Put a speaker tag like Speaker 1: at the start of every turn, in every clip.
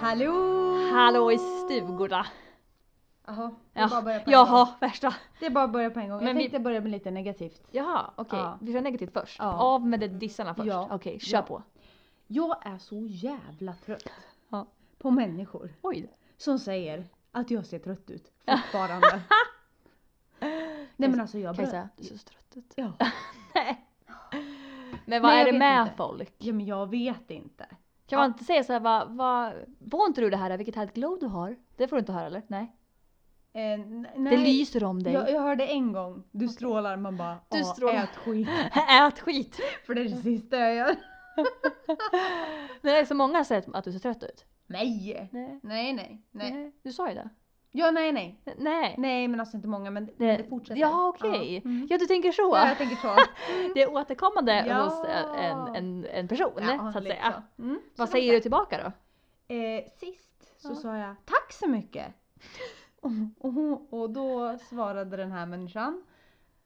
Speaker 1: Hallå!
Speaker 2: Hallå i stugorna!
Speaker 1: Jaha, det är bara att
Speaker 2: Ja.
Speaker 1: börja på en gång.
Speaker 2: Jaha, värsta.
Speaker 1: Det är bara att börja på en gång. Jag
Speaker 2: Men vi-
Speaker 1: tänkte börja med lite negativt.
Speaker 2: Jaha, okej.
Speaker 1: Ja.
Speaker 2: Vi kör negativt först.
Speaker 1: Ja.
Speaker 2: Av med de dissarna först.
Speaker 1: Ja.
Speaker 2: Okej, kör
Speaker 1: Ja.
Speaker 2: på.
Speaker 1: Jag är så jävla trött
Speaker 2: Ja.
Speaker 1: på människor
Speaker 2: Oj.
Speaker 1: som säger att jag ser trött ut fortfarande. Nej men alltså jag börjar...
Speaker 2: Kajsa, du ser så trött ut.
Speaker 1: Ja.
Speaker 2: Nej. Men vad
Speaker 1: Nej, jag
Speaker 2: är
Speaker 1: vet
Speaker 2: det med
Speaker 1: inte.
Speaker 2: folk?
Speaker 1: ja men jag vet inte.
Speaker 2: Kan man inte säga såhär, va, va, var inte du det här, vilket härligt glow du har? Det får du inte höra eller? Nej.
Speaker 1: Eh, n-
Speaker 2: Det
Speaker 1: nej,
Speaker 2: lyser om dig.
Speaker 1: jag, jag hörde en gång. Du strålar, man bara
Speaker 2: Du
Speaker 1: "Ah,
Speaker 2: strålar."
Speaker 1: ät skit.
Speaker 2: Ät skit!
Speaker 1: För det är det sista jag gör.
Speaker 2: Nej, så många har sett att du ser trött ut.
Speaker 1: Nej!
Speaker 2: Nej.
Speaker 1: Nej nej. nej.
Speaker 2: Du sa ju det.
Speaker 1: Ja nej nej.
Speaker 2: N- Nej.
Speaker 1: Nej men alltså inte många men det,
Speaker 2: Det-
Speaker 1: det fortsätter.
Speaker 2: Ja okej.
Speaker 1: Ja. Mm.
Speaker 2: Ja du tänker så.
Speaker 1: Ja, jag tänker så. Mm.
Speaker 2: Det är återkommande
Speaker 1: Ja.
Speaker 2: hos eh, en, en, en person
Speaker 1: Ja,
Speaker 2: så att
Speaker 1: lite
Speaker 2: säga.
Speaker 1: så. Mm,
Speaker 2: Vad
Speaker 1: så
Speaker 2: säger
Speaker 1: de
Speaker 2: du tillbaka då?
Speaker 1: sa. Eh, sist så
Speaker 2: Ja.
Speaker 1: sa jag tack så mycket. Och, och, hon- och då svarade den här människan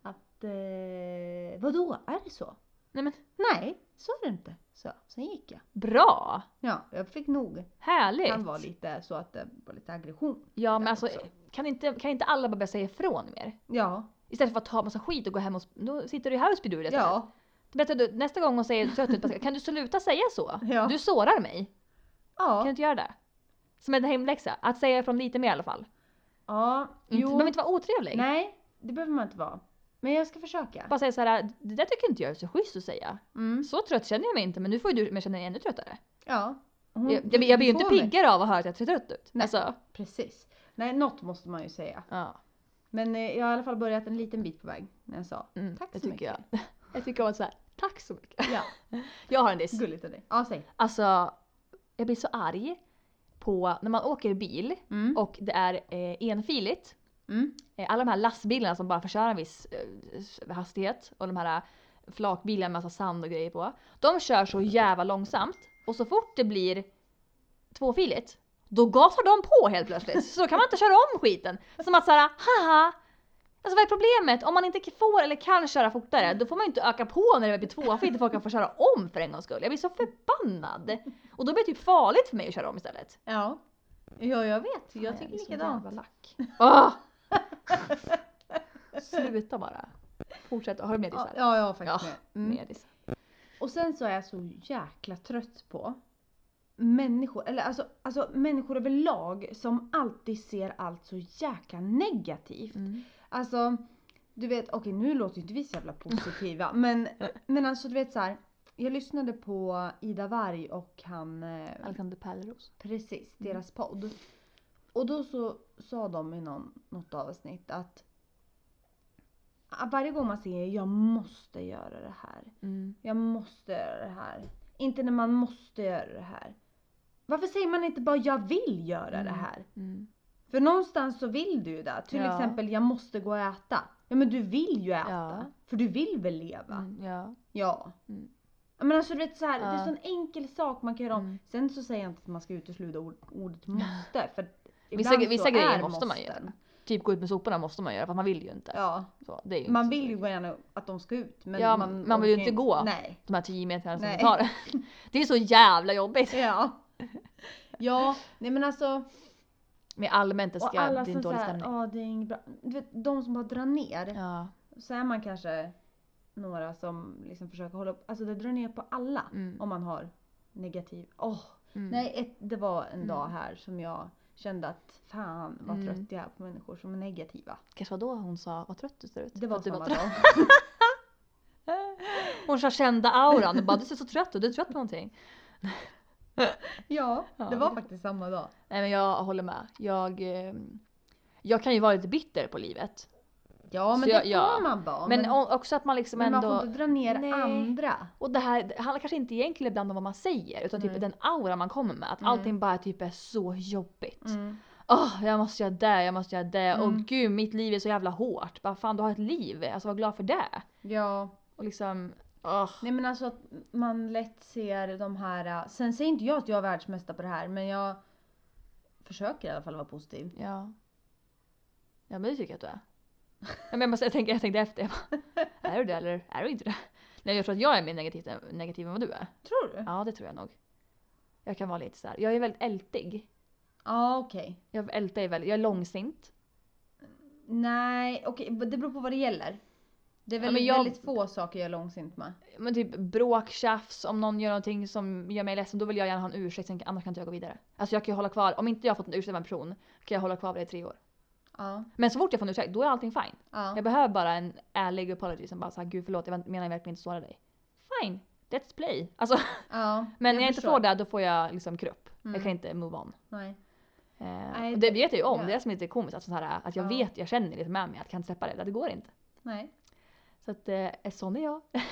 Speaker 1: att eh, vadå, är det så?
Speaker 2: Nej men
Speaker 1: Nej, så är det inte. Så, sen gick jag.
Speaker 2: bra!
Speaker 1: Ja, jag fick nog.
Speaker 2: Härligt!
Speaker 1: Han var lite så att det var lite aggression.
Speaker 2: ja men
Speaker 1: där
Speaker 2: alltså
Speaker 1: också.
Speaker 2: kan inte, kan inte alla bara börja säga ifrån mer?
Speaker 1: Ja,
Speaker 2: Istället för att ta massa skit och gå hem och sp- då sitter du här och spyr ur dig istället.
Speaker 1: ja,
Speaker 2: Det är bättre att du, nästa gång hon säger trött ut, bara säga, kan du sluta säga så?
Speaker 1: Ja.
Speaker 2: Du sårar mig. Kan du
Speaker 1: ja,
Speaker 2: inte göra det? Som en hemläxa, att säga ifrån lite mer i alla fall.
Speaker 1: ja,
Speaker 2: Inte, du
Speaker 1: jo,
Speaker 2: behöver inte vara otrevlig.
Speaker 1: nej, det behöver man inte vara. Men jag ska försöka.
Speaker 2: Bara säga så här, det där tycker inte jag är så schysst att säga.
Speaker 1: Mm,
Speaker 2: Så trött känner jag mig inte men nu får ju du mig känna mig ännu tröttare.
Speaker 1: ja. Hon-
Speaker 2: Jag, jag, jag blir ju
Speaker 1: du
Speaker 2: inte
Speaker 1: Mm. får mig.
Speaker 2: piggare av att höra att jag ser trött ut.
Speaker 1: Nej.
Speaker 2: Alltså,
Speaker 1: Precis. Nej, något måste man ju säga.
Speaker 2: ja.
Speaker 1: Men eh, jag har i alla fall börjat en liten bit på väg när jag sa
Speaker 2: Mm,
Speaker 1: Tack
Speaker 2: det
Speaker 1: så
Speaker 2: tycker Jag. jag tycker om att säga tack så mycket.
Speaker 1: ja,
Speaker 2: Jag har en diss.
Speaker 1: gulligt av dig. Ja, säg.
Speaker 2: Alltså, jag blir så arg på när man åker bil
Speaker 1: Mm.
Speaker 2: och det är eh, enfiligt.
Speaker 1: Mm.
Speaker 2: Eh, alla de här lastbilarna som bara får köra en viss eh, hastighet och de här eh, flakbilarna med massa sand och grejer på. De kör så jävla långsamt och så fort det blir tvåfiligt då gasar de på helt plötsligt. Så då kan man inte köra om skiten. Som att såhär, haha! Alltså vad är problemet? Om man inte får eller kan köra fortare då får man ju inte öka på när det blir tvåfiligt och folk kan få köra om för en gångs skull. Jag blir så förbannad! Och då blir det typ farligt för mig att köra om istället.
Speaker 1: Ja. ja, jag vet.
Speaker 2: Fan,
Speaker 1: Jag tycker
Speaker 2: blir så jävla
Speaker 1: likadant.
Speaker 2: lack. Åh! Ah! Sluta bara. Fortsätt, har du mer
Speaker 1: Ja,
Speaker 2: dissar?
Speaker 1: ja, jag har faktiskt
Speaker 2: Ja,
Speaker 1: med. Mm.
Speaker 2: Mer dissar.
Speaker 1: Och sen så är jag så jäkla trött på människor, eller alltså, alltså människor överlag som alltid ser allt så jäkla negativt.
Speaker 2: Mm.
Speaker 1: Alltså, du vet, okej nu låter ju inte vi så jävla positiva men, men alltså du vet så här. Jag lyssnade på Ida Varg och han, eh,
Speaker 2: Alexander Pärleros.
Speaker 1: precis,
Speaker 2: Mm.
Speaker 1: deras podd. Och då så sa de i någon, något avsnitt att att varje gång man säger jag måste göra det här,
Speaker 2: Mm.
Speaker 1: jag måste göra det här. Inte när man måste göra det här. Varför säger man inte bara jag vill göra det
Speaker 2: Mm.
Speaker 1: här?
Speaker 2: Mm.
Speaker 1: För någonstans så vill du ju det. Till
Speaker 2: Ja.
Speaker 1: exempel, jag måste gå och äta. Ja men du vill ju äta.
Speaker 2: Ja.
Speaker 1: För du vill väl leva?
Speaker 2: Mm, ja.
Speaker 1: Ja.
Speaker 2: Mm.
Speaker 1: Ja, Men alltså du vet så här, det
Speaker 2: Ja.
Speaker 1: är en sån enkel sak man kan göra om.
Speaker 2: Mm.
Speaker 1: Sen så säger jag inte att man ska utesluta ord, ordet måste. För
Speaker 2: Vissa-
Speaker 1: ibland så
Speaker 2: vissa grejer
Speaker 1: är
Speaker 2: måste man göra.
Speaker 1: måsten.
Speaker 2: Typ gå ut med soporna måste man göra för man vill ju inte.
Speaker 1: Ja.
Speaker 2: Så, det är ju
Speaker 1: Man
Speaker 2: inte så
Speaker 1: vill ju
Speaker 2: säkert.
Speaker 1: gärna att de ska ut. Men
Speaker 2: Ja,
Speaker 1: man,
Speaker 2: man vill ju
Speaker 1: orkar
Speaker 2: inte gå.
Speaker 1: Nej.
Speaker 2: De här 10 metrarna som
Speaker 1: Nej.
Speaker 2: det tar. Det är så jävla jobbigt.
Speaker 1: Ja. Ja, nej men alltså.
Speaker 2: Med allmänt, det,
Speaker 1: Och
Speaker 2: ska,
Speaker 1: alla
Speaker 2: det är
Speaker 1: som
Speaker 2: en dålig
Speaker 1: såhär,
Speaker 2: stämning.
Speaker 1: ja det är inget bra. Du vet, de som bara drar ner.
Speaker 2: Ja.
Speaker 1: Så är man kanske några som liksom försöker hålla upp. Alltså det drar ner på alla.
Speaker 2: Mm.
Speaker 1: Om man har negativ. Åh!
Speaker 2: Mm.
Speaker 1: Nej, ett, det var en
Speaker 2: Mm.
Speaker 1: dag här som jag kände att fan vad
Speaker 2: Mm.
Speaker 1: trött jag är på människor som är negativa.
Speaker 2: Kanske var då hon sa vad trött du ser ut.
Speaker 1: Det
Speaker 2: För
Speaker 1: var
Speaker 2: att du
Speaker 1: samma
Speaker 2: trött.
Speaker 1: dag.
Speaker 2: Hon sa kända auran och bara du ser så trött ut, du är trött på någonting.
Speaker 1: Ja,
Speaker 2: Ja,
Speaker 1: det var
Speaker 2: det-
Speaker 1: faktiskt samma dag.
Speaker 2: Nej men jag håller med. Jag, eh, jag kan ju vara lite bitter på livet.
Speaker 1: Ja men
Speaker 2: Så
Speaker 1: det
Speaker 2: jag-
Speaker 1: får
Speaker 2: ja.
Speaker 1: man bara.
Speaker 2: men o- också att man liksom
Speaker 1: men man
Speaker 2: ändå...
Speaker 1: får inte dra ner
Speaker 2: Nej.
Speaker 1: andra.
Speaker 2: Och det här det handlar kanske inte egentligen ibland om vad man säger utan typ
Speaker 1: Nej.
Speaker 2: den aura man kommer med. Att
Speaker 1: Mm.
Speaker 2: allting bara typ är så jobbigt. Åh,
Speaker 1: Mm.
Speaker 2: jag måste göra det, jag måste göra det. Åh
Speaker 1: Mm.
Speaker 2: gud, mitt liv är så jävla hårt. Bara fan, du har ett liv. Alltså var glad för det.
Speaker 1: Ja.
Speaker 2: Och liksom... åh.
Speaker 1: Nej men alltså att man lätt ser de här, äh, sen säger inte jag att jag är världsmästare på det här men jag försöker i alla fall vara positiv.
Speaker 2: Ja. Ja men det tycker jag att du är. Ja, men jag, måste, jag, tänkte, jag tänkte efter, jag bara, är du det eller är du inte det? Nej jag tror att jag är mer negativ, negativ än vad du är.
Speaker 1: Tror du?
Speaker 2: Ja det tror jag nog. Jag kan vara lite så här. jag är väldigt ältig.
Speaker 1: Ja okej.
Speaker 2: Jag ältar ju väldigt, jag är långsint.
Speaker 1: Nej okej det beror på vad det gäller. Det är
Speaker 2: Ja,
Speaker 1: väl
Speaker 2: men jag-
Speaker 1: väldigt få saker jag är långsint med.
Speaker 2: Men typ bråk, tjafs, om någon gör någonting som gör mig ledsen då vill jag gärna ha en ursäkt, sen- annars kan inte jag gå vidare. Alltså jag kan ju hålla kvar, om inte jag har fått en ursäkt av en person kan jag hålla kvar det i tre år.
Speaker 1: Ja.
Speaker 2: Men så fort jag får en ursäkt då är allting fine.
Speaker 1: ja.
Speaker 2: Jag behöver bara en ärlig apology som bara såhär gud förlåt jag menar verkligen inte att såra dig. Fine, let's play. Alltså,
Speaker 1: ja.
Speaker 2: men när jag inte
Speaker 1: förstår.
Speaker 2: får det då får jag liksom krupp.
Speaker 1: Mm.
Speaker 2: Jag kan inte move on.
Speaker 1: Nej.
Speaker 2: Eh,
Speaker 1: Nej,
Speaker 2: och det vet jag ju om,
Speaker 1: ja.
Speaker 2: det är det som är lite komiskt. Alltså, så här, att jag
Speaker 1: Ja.
Speaker 2: vet, jag känner lite med mig att jag kan inte släppa det, det går inte.
Speaker 1: Nej.
Speaker 2: Så att eh, sån är jag.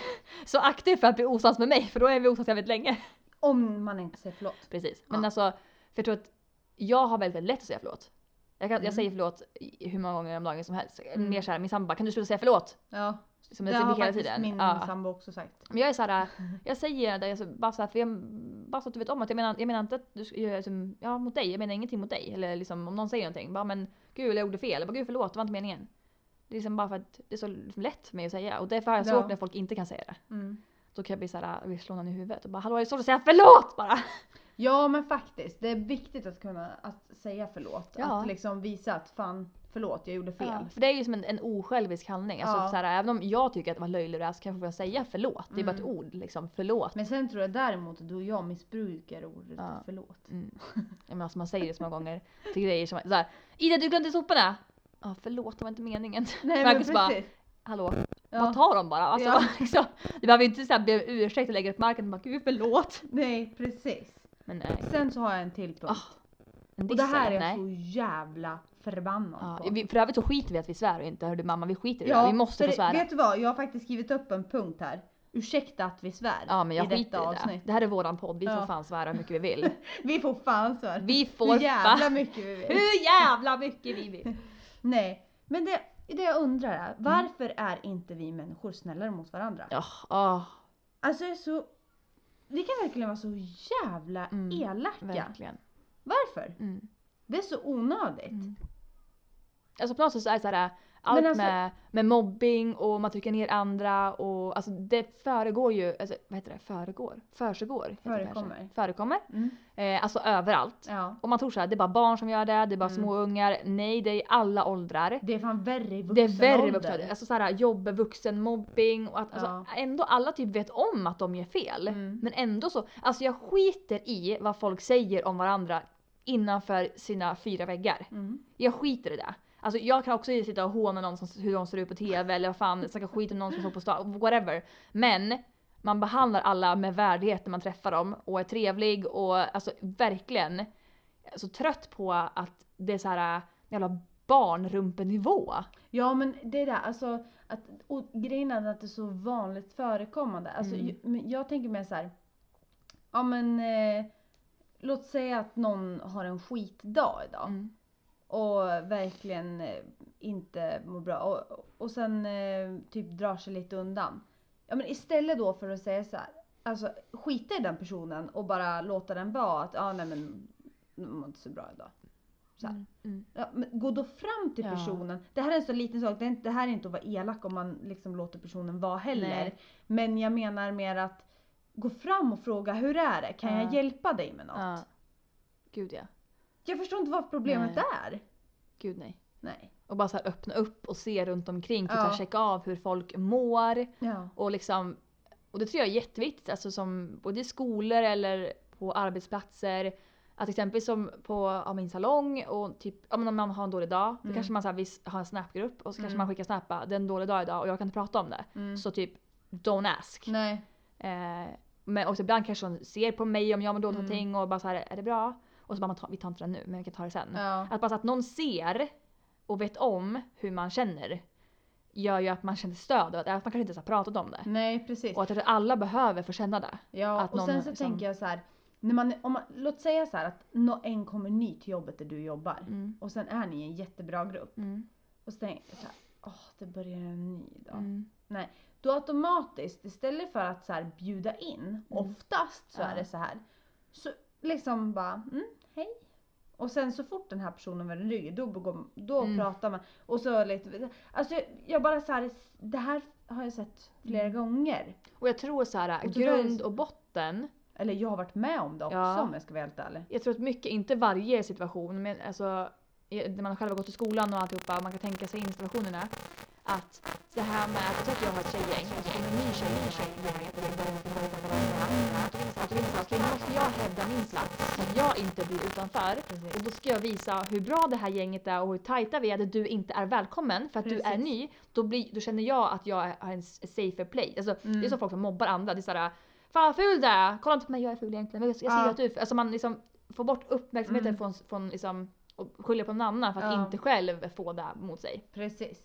Speaker 2: så akta er för att bli osams med mig för då är vi osams jävligt länge.
Speaker 1: Om man inte säger förlåt.
Speaker 2: Precis. Men
Speaker 1: Ja.
Speaker 2: alltså, för jag tror att jag har väldigt lätt att säga förlåt. Jag, kan,
Speaker 1: Mm.
Speaker 2: jag säger förlåt i- hur många gånger om dagen som helst.
Speaker 1: Mm.
Speaker 2: Mer såhär, min sambo bara, kan du sluta säga förlåt?
Speaker 1: Ja.
Speaker 2: Som
Speaker 1: Det
Speaker 2: jag säger
Speaker 1: har
Speaker 2: typ hela
Speaker 1: faktiskt
Speaker 2: tiden.
Speaker 1: min
Speaker 2: ja.
Speaker 1: sambo också sagt.
Speaker 2: Men jag är såhär, jag säger det alltså, bara såhär, för jag, bara så att du vet om att jag menar, jag menar inte att du ska göra liksom, ja, mot dig, jag menar ingenting mot dig. Eller liksom om någon säger någonting, bara men gud jag gjorde fel, jag bara gud förlåt, det var inte meningen. Det är liksom bara för att det är så liksom lätt för mig att säga och därför har jag
Speaker 1: Ja.
Speaker 2: svårt när folk inte kan säga det.
Speaker 1: Mm.
Speaker 2: Då kan jag bli såhär, jag vill slå någon i huvudet och bara hallå är det svårt att säga förlåt bara?
Speaker 1: Ja men faktiskt, det är viktigt att kunna att säga förlåt.
Speaker 2: Ja.
Speaker 1: Att liksom visa att fan förlåt jag gjorde fel.
Speaker 2: Ja, för det är ju som en, en osjälvisk handling. Alltså,
Speaker 1: Ja.
Speaker 2: så här, även om jag tycker att det var löjlig rast kan jag få säga förlåt. Det är bara ett
Speaker 1: Mm.
Speaker 2: ord liksom, förlåt.
Speaker 1: Men sen tror jag däremot att du och jag missbrukar ordet
Speaker 2: Ja.
Speaker 1: förlåt.
Speaker 2: Mm. Ja, men alltså, man säger det så många gånger till grejer som så här, Ida du glömde soporna! Ja förlåt det var inte meningen.
Speaker 1: Nej
Speaker 2: Marcus bara, Hallå, bara
Speaker 1: Ja.
Speaker 2: ta dem bara. Alltså,
Speaker 1: Ja.
Speaker 2: bara liksom, du behöver inte så här, be om ursäkt och lägga upp marken och bara gud förlåt.
Speaker 1: Nej precis.
Speaker 2: Men nej.
Speaker 1: Sen så har jag en till punkt.
Speaker 2: Ah, En
Speaker 1: och det
Speaker 2: diss,
Speaker 1: här är
Speaker 2: eller?
Speaker 1: jag
Speaker 2: nej.
Speaker 1: så jävla förbannad
Speaker 2: Ja,
Speaker 1: på.
Speaker 2: vi, för övrigt så skiter vi i att vi svär och inte, hörde mamma vi skiter i det. Vi måste
Speaker 1: för
Speaker 2: få
Speaker 1: det-
Speaker 2: svära.
Speaker 1: Vet du vad, jag har faktiskt skrivit upp en punkt här. Ursäkta att vi svär
Speaker 2: Ja men jag
Speaker 1: i
Speaker 2: skiter
Speaker 1: detta
Speaker 2: i det.
Speaker 1: avsnitt.
Speaker 2: Det här är våran podd, vi får
Speaker 1: Ja.
Speaker 2: fan svära hur mycket vi vill.
Speaker 1: Vi får fan svär.
Speaker 2: Vi får
Speaker 1: Hur jävla
Speaker 2: fan
Speaker 1: mycket vi vill.
Speaker 2: Hur jävla mycket vi vill!
Speaker 1: Nej, men det, det jag undrar är varför är inte vi människor snällare mot varandra?
Speaker 2: Mm. Ja, ah,
Speaker 1: Alltså jag är så... Vi kan verkligen vara så jävla
Speaker 2: Mm,
Speaker 1: elaka.
Speaker 2: verkligen.
Speaker 1: Varför?
Speaker 2: Mm.
Speaker 1: Det är så onödigt.
Speaker 2: Mm. Alltså på något sätt så är det så här, allt
Speaker 1: Men alltså-
Speaker 2: med, med mobbing och man trycker ner andra och alltså det föregår ju, alltså, vad heter det, föregår? Försiggår? heter det kanske.
Speaker 1: Förekommer.
Speaker 2: Förekommer.
Speaker 1: Mm.
Speaker 2: Eh, alltså överallt.
Speaker 1: Ja.
Speaker 2: Och man tror såhär, det är bara barn som gör det, det är bara
Speaker 1: Mm.
Speaker 2: småungar. Nej, det är i alla åldrar.
Speaker 1: Det är fan värre i vuxen
Speaker 2: Det är värre
Speaker 1: ålder.
Speaker 2: vuxna. Alltså såhär jobb, vuxen, mobbing och att alltså,
Speaker 1: Ja.
Speaker 2: ändå alla typ vet om att de gör fel.
Speaker 1: Mm.
Speaker 2: Men ändå så, alltså jag skiter i vad folk säger om varandra innanför sina fyra väggar.
Speaker 1: Mm.
Speaker 2: Jag skiter i det. Alltså jag kan också sitta och håna någon som, hur de ser ut på TV eller vad fan, snacka skit om någon som står på stan, whatever. Men man behandlar alla med värdighet när man träffar dem och är trevlig och alltså verkligen så trött på att det är såhär jävla barnrumpenivå.
Speaker 1: Ja men det är det, alltså att, och grejen är att det är så vanligt förekommande. Alltså,
Speaker 2: Mm.
Speaker 1: ju- men jag tänker mer så här. ja men eh, låt säga att någon har en skitdag idag.
Speaker 2: Mm.
Speaker 1: och verkligen eh, inte mår bra och, och sen eh, typ drar sig lite undan. Ja men istället då för att säga så här, alltså skita i den personen och bara låta den vara att ja nej men nu mår inte så bra idag. Så här.
Speaker 2: Mm.
Speaker 1: Ja, men gå då fram till
Speaker 2: Ja.
Speaker 1: personen. Det här är en så liten sak, det, är inte, det här är inte att vara elak om man liksom låter personen vara heller.
Speaker 2: Nej.
Speaker 1: Men jag menar mer att gå fram och fråga hur är det? Kan
Speaker 2: Ja.
Speaker 1: jag hjälpa dig med något?
Speaker 2: Ja. Gud ja.
Speaker 1: Jag förstår inte vad problemet
Speaker 2: Nej.
Speaker 1: är.
Speaker 2: Gud nej.
Speaker 1: Nej.
Speaker 2: Och bara så här öppna upp och se runt omkring. Typ
Speaker 1: Ja.
Speaker 2: så här checka av hur folk mår.
Speaker 1: Ja.
Speaker 2: Och liksom, och det tror jag är jätteviktigt, alltså som både i skolor eller på arbetsplatser. Att till exempel som på ja, min salong och typ, ja, men om man har en dålig dag, då
Speaker 1: Mm.
Speaker 2: kanske man så här, vi har en snapgrupp och så kanske
Speaker 1: Mm.
Speaker 2: man skickar snappa, det är en dålig dag idag och jag kan inte prata om det.
Speaker 1: Mm.
Speaker 2: Så typ, don't ask.
Speaker 1: Nej.
Speaker 2: Eh, men också ibland kanske hon ser på mig om jag mår dåligt
Speaker 1: Mm.
Speaker 2: någonting och bara så här, är det bra? Och så bara, man tar, vi tar inte det nu men vi kan ta det sen.
Speaker 1: Ja.
Speaker 2: Att bara så att någon ser och vet om hur man känner gör ju att man känner stöd och att även om man kanske inte ens har pratat om det.
Speaker 1: Nej precis.
Speaker 2: Och att jag tror alla behöver få känna det.
Speaker 1: ja,
Speaker 2: att
Speaker 1: och
Speaker 2: någon
Speaker 1: sen så
Speaker 2: liksom-
Speaker 1: tänker jag så här. När man, om man, låt säga så här att nå- en kommer ny till jobbet där du jobbar
Speaker 2: Mm.
Speaker 1: och sen är ni en jättebra grupp.
Speaker 2: Mm.
Speaker 1: Och så tänker jag så här, åh det börjar en ny idag.
Speaker 2: Mm.
Speaker 1: Då automatiskt, istället för att så här bjuda in, oftast så
Speaker 2: Mm. Ja.
Speaker 1: är det så här. Så liksom bara, mm, hej. Och sen så fort den här personen vänder ryggen, då, går- då
Speaker 2: Mm.
Speaker 1: pratar man. Och så lite, alltså jag, jag bara så här, det här har jag sett flera
Speaker 2: Mm.
Speaker 1: gånger.
Speaker 2: Och jag tror så här,
Speaker 1: Och då är det
Speaker 2: grund
Speaker 1: så-
Speaker 2: och botten
Speaker 1: Eller jag har varit med om det också
Speaker 2: Ja.
Speaker 1: om jag ska vara helt ärlig.
Speaker 2: Jag tror att mycket, inte varje situation, men alltså i- när man själv har gått i skolan och alltihopa, man kan tänka sig in i situationerna. Att det här med att jag tror att jag har ett tjejgäng, och så kommer en ny tjej in i tjejgänget och det börjar- det börjar prata om det här. Då vill jag säga, då vill jag säga, Okej, nu måste jag hävda min plats så att jag inte blir utanför. Och då ska jag visa hur bra det här gänget är och hur tajta vi är där du inte är välkommen för att du är
Speaker 1: Precis.
Speaker 2: ny. Då, blir, då känner jag att jag är- har en s- safer play. Alltså, Det är
Speaker 1: Mm.
Speaker 2: som folk som mobbar andra. Det är såhär Fan vad ful du är! Kolla inte på mig, jag är ful egentligen. Men jag, jag ser
Speaker 1: Ja.
Speaker 2: att du är ful. Alltså man liksom får bort uppmärksamheten
Speaker 1: Mm.
Speaker 2: från, från liksom, och skyller på någon annan för att
Speaker 1: Ja.
Speaker 2: inte själv få det mot sig.
Speaker 1: Precis.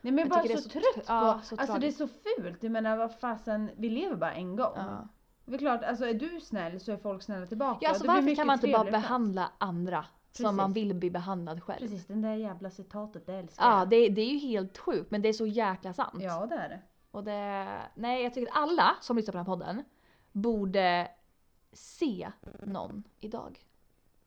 Speaker 1: Nej men
Speaker 2: Jag
Speaker 1: jag bara
Speaker 2: tycker
Speaker 1: så,
Speaker 2: det är så
Speaker 1: trött
Speaker 2: tr-
Speaker 1: på,
Speaker 2: ja, så
Speaker 1: alltså det är
Speaker 2: tragiskt.
Speaker 1: så fult. Jag menar vad fasen, vi lever bara en gång.
Speaker 2: Ja.
Speaker 1: Det är klart, alltså är du snäll så är folk snälla tillbaka.
Speaker 2: Ja, alltså,
Speaker 1: Det blir
Speaker 2: varför
Speaker 1: mycket
Speaker 2: kan man inte bara
Speaker 1: trevligare plats.
Speaker 2: behandla andra som man
Speaker 1: Precis.
Speaker 2: vill bli behandlad själv?
Speaker 1: Precis, den där jävla citatet, det älskar
Speaker 2: Ja,
Speaker 1: jag.
Speaker 2: det, det är ju helt sjukt men det är så jäkla sant.
Speaker 1: Ja det är det.
Speaker 2: Och det, nej, jag tycker att alla som lyssnar på den här podden borde se någon idag.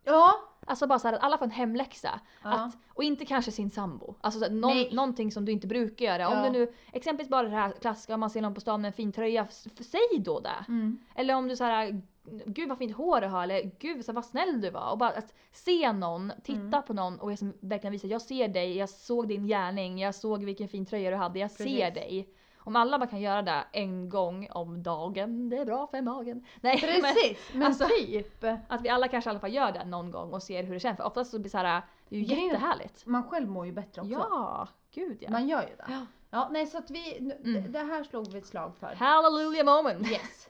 Speaker 1: Ja.
Speaker 2: Alltså bara så här att alla får en hemläxa.
Speaker 1: ja.
Speaker 2: Att, och inte kanske sin sambo. Alltså så att någon,
Speaker 1: Nej.
Speaker 2: någonting som du inte brukar göra. Om
Speaker 1: Ja.
Speaker 2: du nu, exempelvis bara det här klassiska om man ser någon på stan med en fin tröja, f- f- säg då det.
Speaker 1: Mm.
Speaker 2: Eller om du så här, gud vad fint hår du har eller gud så vad snäll du var. Och bara att se någon, titta
Speaker 1: Mm.
Speaker 2: på någon och liksom verkligen visa jag ser dig, jag såg din gärning, jag såg vilken fin tröja du hade, jag ser
Speaker 1: Precis.
Speaker 2: dig. Om alla bara kan göra det en gång om dagen, det är bra för magen. Nej, men-
Speaker 1: Precis, men,
Speaker 2: alltså-
Speaker 1: typ.
Speaker 2: att vi alla kanske i alla fall gör det någon gång och ser hur det känns. För oftast så blir det så här, det är ju
Speaker 1: Grejen är-
Speaker 2: jättehärligt.
Speaker 1: Man själv mår ju bättre också.
Speaker 2: Ja, gud ja.
Speaker 1: Man gör ju det.
Speaker 2: Ja.
Speaker 1: Ja, nej så att vi, nu-
Speaker 2: Mm.
Speaker 1: det- det här slog vi ett slag för.
Speaker 2: Hallelujah moment!
Speaker 1: Yes.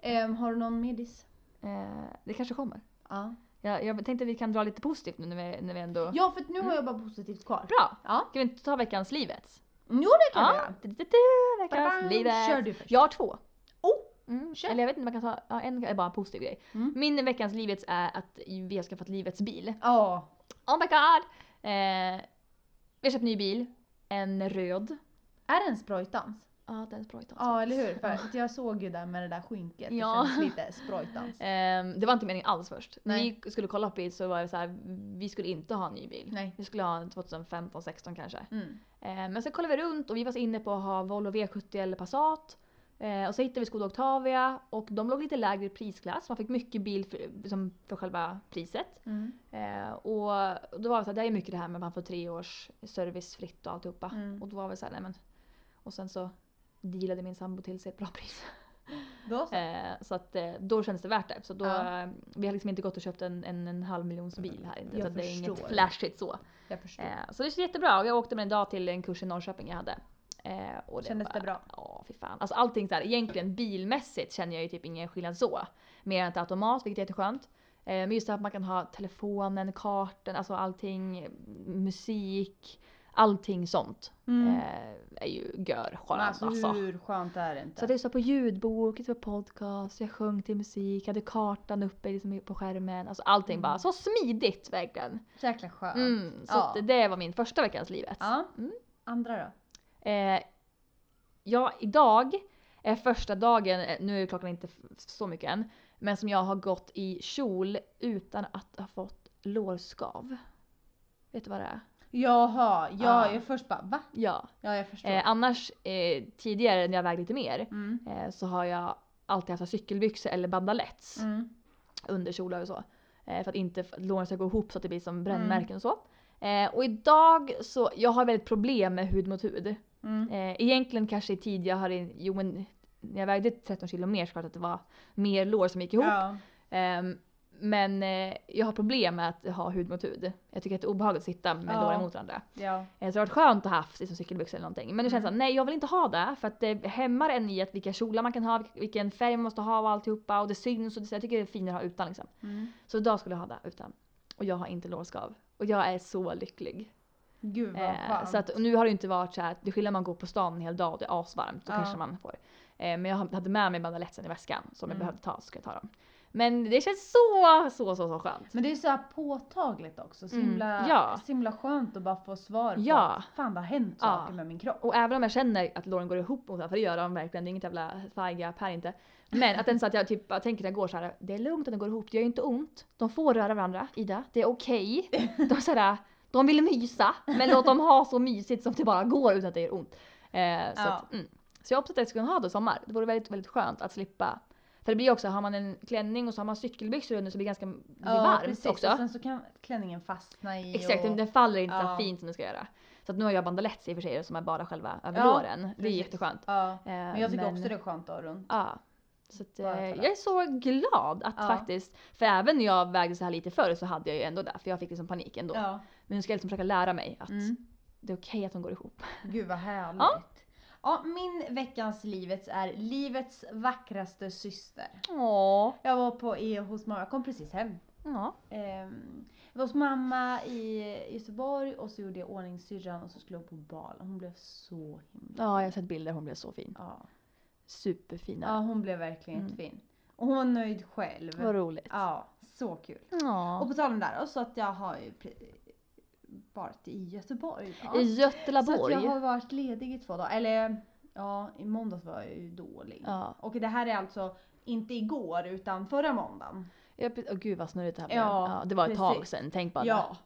Speaker 1: Ehm, har du någon midis?
Speaker 2: Eh, det kanske kommer.
Speaker 1: Ja.
Speaker 2: Jag, jag tänkte vi kan dra lite positivt nu när vi, när vi ändå...
Speaker 1: Ja för att nu har jag bara positivt kvar.
Speaker 2: Bra!
Speaker 1: Ja.
Speaker 2: Ska vi inte ta veckans livet?
Speaker 1: Jo det kan
Speaker 2: Ja.
Speaker 1: jag.
Speaker 2: Du, du, du,
Speaker 1: Ba-bam.
Speaker 2: Veckans livet!
Speaker 1: Kör du först.
Speaker 2: Jag har två.
Speaker 1: Oh!
Speaker 2: Mm.
Speaker 1: Kör.
Speaker 2: Eller jag vet inte, man kan ta ja, en är bara en positiv grej.
Speaker 1: Mm.
Speaker 2: Min veckans livets är att vi har skaffat livets bil.
Speaker 1: Ja.
Speaker 2: Oh my god! Eh, vi har köpt ny bil. En röd.
Speaker 1: Är det en sprojtans?
Speaker 2: Ja, den spraytans.
Speaker 1: Ja eller hur? För att jag såg ju där med det där skynket.
Speaker 2: Ja.
Speaker 1: Det känns lite sprojtans.
Speaker 2: Ehm, det var inte meningen alls först.
Speaker 1: Nej.
Speaker 2: När vi skulle kolla upp bil så var det så här, vi skulle inte ha en ny bil.
Speaker 1: Nej.
Speaker 2: Vi skulle ha en 2015, 16 kanske.
Speaker 1: Mm.
Speaker 2: Ehm, men sen kollade vi runt och vi var så inne på att ha Volvo V70 eller Passat. Ehm, och så hittade vi Skoda Octavia och de låg lite lägre i prisklass. Man fick mycket bil för, liksom, för själva priset.
Speaker 1: Mm.
Speaker 2: Ehm, och då var det så här, det är mycket det här med att man får tre års servicefritt och alltihopa.
Speaker 1: Mm.
Speaker 2: Och då var vi så här, nej men. Och sen så dealade min sambo till sig ett bra pris.
Speaker 1: Då så.
Speaker 2: Eh, så att eh, då kändes det värt det. Så då,
Speaker 1: Ja.
Speaker 2: eh, vi har liksom inte gått och köpt en, en, en halv miljons bil här.
Speaker 1: Jag
Speaker 2: så det är inget
Speaker 1: förstår.
Speaker 2: flashigt så.
Speaker 1: Jag förstår.
Speaker 2: Eh, så det känns jättebra. Och jag åkte med en dag till en kurs i Norrköping jag hade. Eh, och
Speaker 1: Kändes
Speaker 2: var-
Speaker 1: det bra?
Speaker 2: Ja, fy fan. Alltså allting så här, egentligen bilmässigt känner jag ju typ ingen skillnad så. Mer än att det är automat, vilket är jätteskönt. Eh, men just det här att man kan ha telefonen, kartan, alltså allting, eh, musik, allting sånt.
Speaker 1: Mm.
Speaker 2: Eh, är ju gör skönt
Speaker 1: Men
Speaker 2: alltså.
Speaker 1: alltså, hur skönt är det inte?
Speaker 2: Så jag lyssnade på ljudbok, lyssnade på podcast, jag sjöng till musik, hade kartan uppe liksom på skärmen. Alltså allting
Speaker 1: Mm.
Speaker 2: bara så smidigt verkligen.
Speaker 1: Jäkla skönt.
Speaker 2: Mm, så
Speaker 1: Ja.
Speaker 2: att det var min första veckans livet.
Speaker 1: Ja.
Speaker 2: Mm.
Speaker 1: Andra då?
Speaker 2: Eh, ja, idag är första dagen, eh, nu är klockan inte f- så mycket än, men som jag har gått i kjol utan att ha fått lårskav. Vet du vad det är?
Speaker 1: Jaha, ja
Speaker 2: Ja.
Speaker 1: jag först bara va?
Speaker 2: Ja.
Speaker 1: Ja jag förstår.
Speaker 2: Eh, annars eh, tidigare när jag vägde lite mer
Speaker 1: Mm.
Speaker 2: eh, så har jag alltid haft så här cykelbyxor eller bandaletts.
Speaker 1: Mm.
Speaker 2: under kjolar och så. Eh, för att inte för att låren ska gå ihop så att det blir som
Speaker 1: Mm.
Speaker 2: brännmärken och så. Eh, och idag så, jag har väldigt problem med hud mot hud.
Speaker 1: Mm.
Speaker 2: Eh, egentligen kanske i tid jag har, in- jo men när jag vägde 13 kilo mer så klart att det var mer lår som gick ihop.
Speaker 1: Ja.
Speaker 2: Ehm, men eh, jag har problem med att ha hud mot hud. Jag tycker att det är obehagligt att sitta med
Speaker 1: Ja.
Speaker 2: låren mot varandra.
Speaker 1: ja.
Speaker 2: Eh, så det har varit skönt att ha haft liksom, cykelbyxor eller någonting. Men det känns
Speaker 1: Mm.
Speaker 2: som nej jag vill inte ha det för att det hämmar en i att vilka kjolar man kan ha, vilk- vilken färg man måste ha och alltihopa och det syns och det, så jag tycker det är finare att ha utan liksom.
Speaker 1: Mm.
Speaker 2: Så idag skulle jag ha det utan. Och jag har inte lårskav. Och jag är så lycklig.
Speaker 1: Gud vad
Speaker 2: Eh,
Speaker 1: skönt.
Speaker 2: så att, och nu har det inte varit så här, det är skillnad om man går på stan en hel dag och det är asvarmt. Då
Speaker 1: Ja.
Speaker 2: kanske man får. Eh, men jag hade med mig bandaletsen i väskan som jag
Speaker 1: Mm.
Speaker 2: behövde ta så skulle jag ta dem. Men det känns så, så, så, så skönt.
Speaker 1: Men det är så här påtagligt också. Så
Speaker 2: Mm,
Speaker 1: himla,
Speaker 2: ja.
Speaker 1: så himla skönt att bara få svar på
Speaker 2: Ja.
Speaker 1: att fan det har hänt
Speaker 2: Ja.
Speaker 1: saker med min kropp.
Speaker 2: Och även om jag känner att låren går ihop mot varandra, för det gör de verkligen, det är inget jävla fajgap här inte. Men att den så att jag typ bara tänker när jag går så här, det är lugnt att de går ihop, det gör ju inte ont. De får röra varandra, Ida, det är okej. De så här, de vill mysa, men låt dem ha så mysigt som det bara går utan att det gör ont. Eh, så,
Speaker 1: Ja.
Speaker 2: att, mm. så jag hoppas att jag ska kunna ha det i sommar. Det vore väldigt, väldigt skönt att slippa För det blir också, har man en klänning och så har man cykelbyxor under så blir det ganska det blir
Speaker 1: Ja,
Speaker 2: varmt
Speaker 1: precis.
Speaker 2: också.
Speaker 1: Och sen så kan klänningen fastna i
Speaker 2: Exakt, den-
Speaker 1: och...
Speaker 2: den faller inte så
Speaker 1: Ja.
Speaker 2: här fint som den ska göra. Så att nu har jag bandalett i och för sig som är bara själva överlåren. det är
Speaker 1: precis.
Speaker 2: jätteskönt.
Speaker 1: Ja.
Speaker 2: Eh,
Speaker 1: Men jag tycker också det är skönt att ha runt.
Speaker 2: Ja. Så att, eh,
Speaker 1: Bara för
Speaker 2: jag är så glad att
Speaker 1: Ja.
Speaker 2: faktiskt, för även när jag vägde så här lite förr så hade jag ju ändå det för jag fick liksom panik ändå.
Speaker 1: Ja.
Speaker 2: Men nu ska jag liksom försöka lära mig att
Speaker 1: Mm.
Speaker 2: det är okej att de går ihop.
Speaker 1: Gud vad härligt. Ja.
Speaker 2: Ja.
Speaker 1: min veckans Livets är livets vackraste syster.
Speaker 2: Åh.
Speaker 1: Jag var på, i, hos mamma, jag kom precis hem.
Speaker 2: Ja.
Speaker 1: Ehm, jag var hos mamma i Göteborg och så gjorde jag i ordning syrran och så skulle hon på bal. Hon blev så himla
Speaker 2: ja, jag har sett bilder, hon blev så fin.
Speaker 1: Ja.
Speaker 2: Superfin.
Speaker 1: ja, hon blev verkligen
Speaker 2: Mm.
Speaker 1: fin. Och hon var nöjd själv.
Speaker 2: Vad roligt.
Speaker 1: Ja, så kul.
Speaker 2: Ja.
Speaker 1: Och på tal om det här, så att jag har ju pre- varit i Göteborg. Ja.
Speaker 2: I
Speaker 1: Så att
Speaker 2: Göteborg.
Speaker 1: jag har varit ledig i två dagar. Eller ja, i måndags var jag ju dålig.
Speaker 2: Ja.
Speaker 1: Och det här är alltså inte igår utan förra måndagen.
Speaker 2: Jag... Oh, gud vad snurrigt det här blev.
Speaker 1: Ja,
Speaker 2: Ja, det var ett tag
Speaker 1: precis.
Speaker 2: sedan, tänk bara.
Speaker 1: Ja.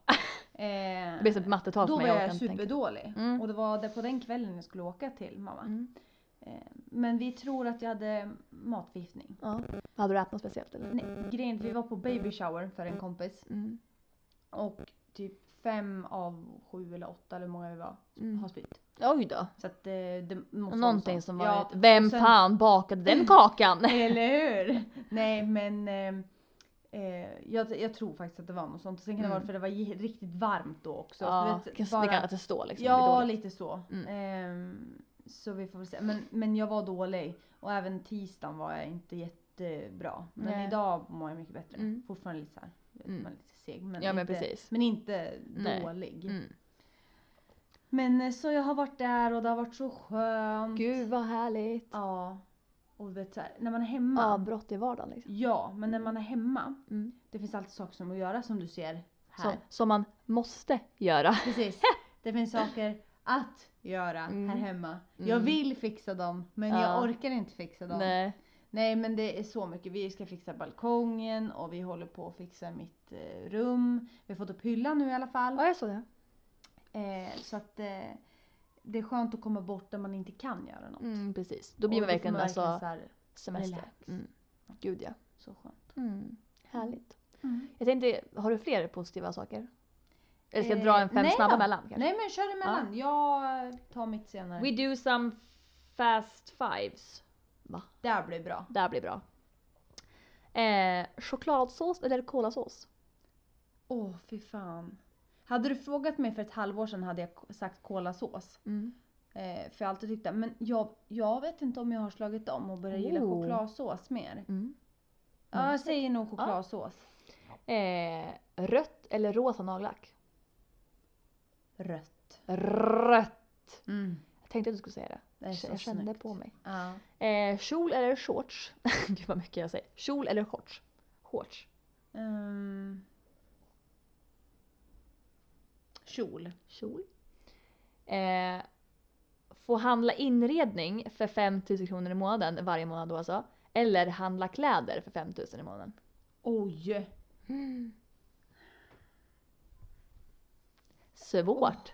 Speaker 2: Det blev
Speaker 1: eh,
Speaker 2: som ett mattetal
Speaker 1: då var
Speaker 2: för mig.
Speaker 1: jag
Speaker 2: orkar inte tänka.
Speaker 1: superdålig.
Speaker 2: Mm.
Speaker 1: Och det var det på den kvällen jag skulle åka till mamma.
Speaker 2: Mm.
Speaker 1: Eh, men vi tror att jag hade matförgiftning.
Speaker 2: Ja. Hade du ätit något speciellt eller?
Speaker 1: Nej, grejen är att vi var på baby shower för en kompis.
Speaker 2: Mm.
Speaker 1: Och typ fem av sju eller åtta eller hur många vi var
Speaker 2: Mm.
Speaker 1: har spytt.
Speaker 2: Oj då.
Speaker 1: Så att eh, det måste vara
Speaker 2: Någonting
Speaker 1: något
Speaker 2: som
Speaker 1: sånt.
Speaker 2: var
Speaker 1: Ja,
Speaker 2: ett, Vem
Speaker 1: och sen-
Speaker 2: fan bakade den kakan?
Speaker 1: Eller hur? Nej men eh, eh, jag, jag tror faktiskt att det var något sånt. Sen kan det
Speaker 2: Mm.
Speaker 1: vara för det var j- riktigt varmt då också.
Speaker 2: ja,
Speaker 1: du vet,
Speaker 2: kan- det kan jag förstå liksom. det blir
Speaker 1: ja
Speaker 2: dåligt.
Speaker 1: lite så.
Speaker 2: Mm.
Speaker 1: Ehm, så vi får väl se. Men, men jag var dålig och även tisdagen var jag inte jättebra. Men
Speaker 2: Nej.
Speaker 1: idag mår jag mycket bättre.
Speaker 2: Mm.
Speaker 1: Fortfarande lite såhär, du vet,
Speaker 2: Mm.
Speaker 1: man är lite seg. Men
Speaker 2: Ja, men
Speaker 1: inte,
Speaker 2: precis.
Speaker 1: Men inte
Speaker 2: Nej.
Speaker 1: dålig.
Speaker 2: Mm.
Speaker 1: Men eh, så jag har varit där och det har varit så skönt.
Speaker 2: Gud vad härligt.
Speaker 1: Ja. Och du vet såhär, när man är hemma.
Speaker 2: Avbrott i vardagen liksom.
Speaker 1: Ja, men när man är hemma.
Speaker 2: Mm.
Speaker 1: Det finns alltid saker som att göra som du ser här.
Speaker 2: Som, som man måste göra.
Speaker 1: Precis. Det finns saker att göra
Speaker 2: Mm.
Speaker 1: här hemma.
Speaker 2: Mm.
Speaker 1: Jag vill fixa dem men
Speaker 2: Ja.
Speaker 1: jag orkar inte fixa dem. Nej.
Speaker 2: Nej.
Speaker 1: men det är så mycket. Vi ska fixa balkongen och vi håller på att fixa mitt eh, rum. Vi har fått upp hyllan nu i alla fall.
Speaker 2: Ja jag såg det.
Speaker 1: Eh, så att eh, det är skönt att komma bort där man inte kan göra något.
Speaker 2: Mm, precis. Då blir
Speaker 1: Och
Speaker 2: man verkligen
Speaker 1: får
Speaker 2: alltså,
Speaker 1: så här,
Speaker 2: semester.
Speaker 1: relax.
Speaker 2: Mm. Gud ja.
Speaker 1: så skönt.
Speaker 2: Mm. Härligt. Jag tänkte, har du fler positiva saker? Eller ska jag
Speaker 1: Eh,
Speaker 2: dra en fem
Speaker 1: nej
Speaker 2: snabba
Speaker 1: då.
Speaker 2: mellan? kanske?
Speaker 1: Nej men kör emellan. Jag tar mitt senare.
Speaker 2: We do some fast fives.
Speaker 1: Det här blir bra.
Speaker 2: Det här blir bra. Eh, chokladsås eller kolasås?
Speaker 1: Åh, fy fan. Hade du frågat mig för ett halvår sedan hade jag k- sagt kolasås. Eh, för jag har alltid tyckt det. Men jag, jag vet inte om jag har slagit om och börjat gilla
Speaker 2: Oh.
Speaker 1: chokladsås mer.
Speaker 2: Mm.
Speaker 1: Ja, jag säger nog chokladsås.
Speaker 2: Eh, rött eller rosa nagellack?
Speaker 1: Rött.
Speaker 2: Rött!
Speaker 1: Mm.
Speaker 2: Jag tänkte att du skulle säga det.
Speaker 1: Det är så
Speaker 2: jag kände
Speaker 1: snyggt.
Speaker 2: på mig.
Speaker 1: Ja.
Speaker 2: Eh, kjol eller shorts? Gud vad mycket jag säger. Kjol eller shorts? Shorts.
Speaker 1: Ehm. Kjol.
Speaker 2: Kjol. Eh, få handla inredning för 5000 kronor i månaden varje månad då alltså. Eller handla kläder för 5000 i månaden.
Speaker 1: Oj!
Speaker 2: Svårt.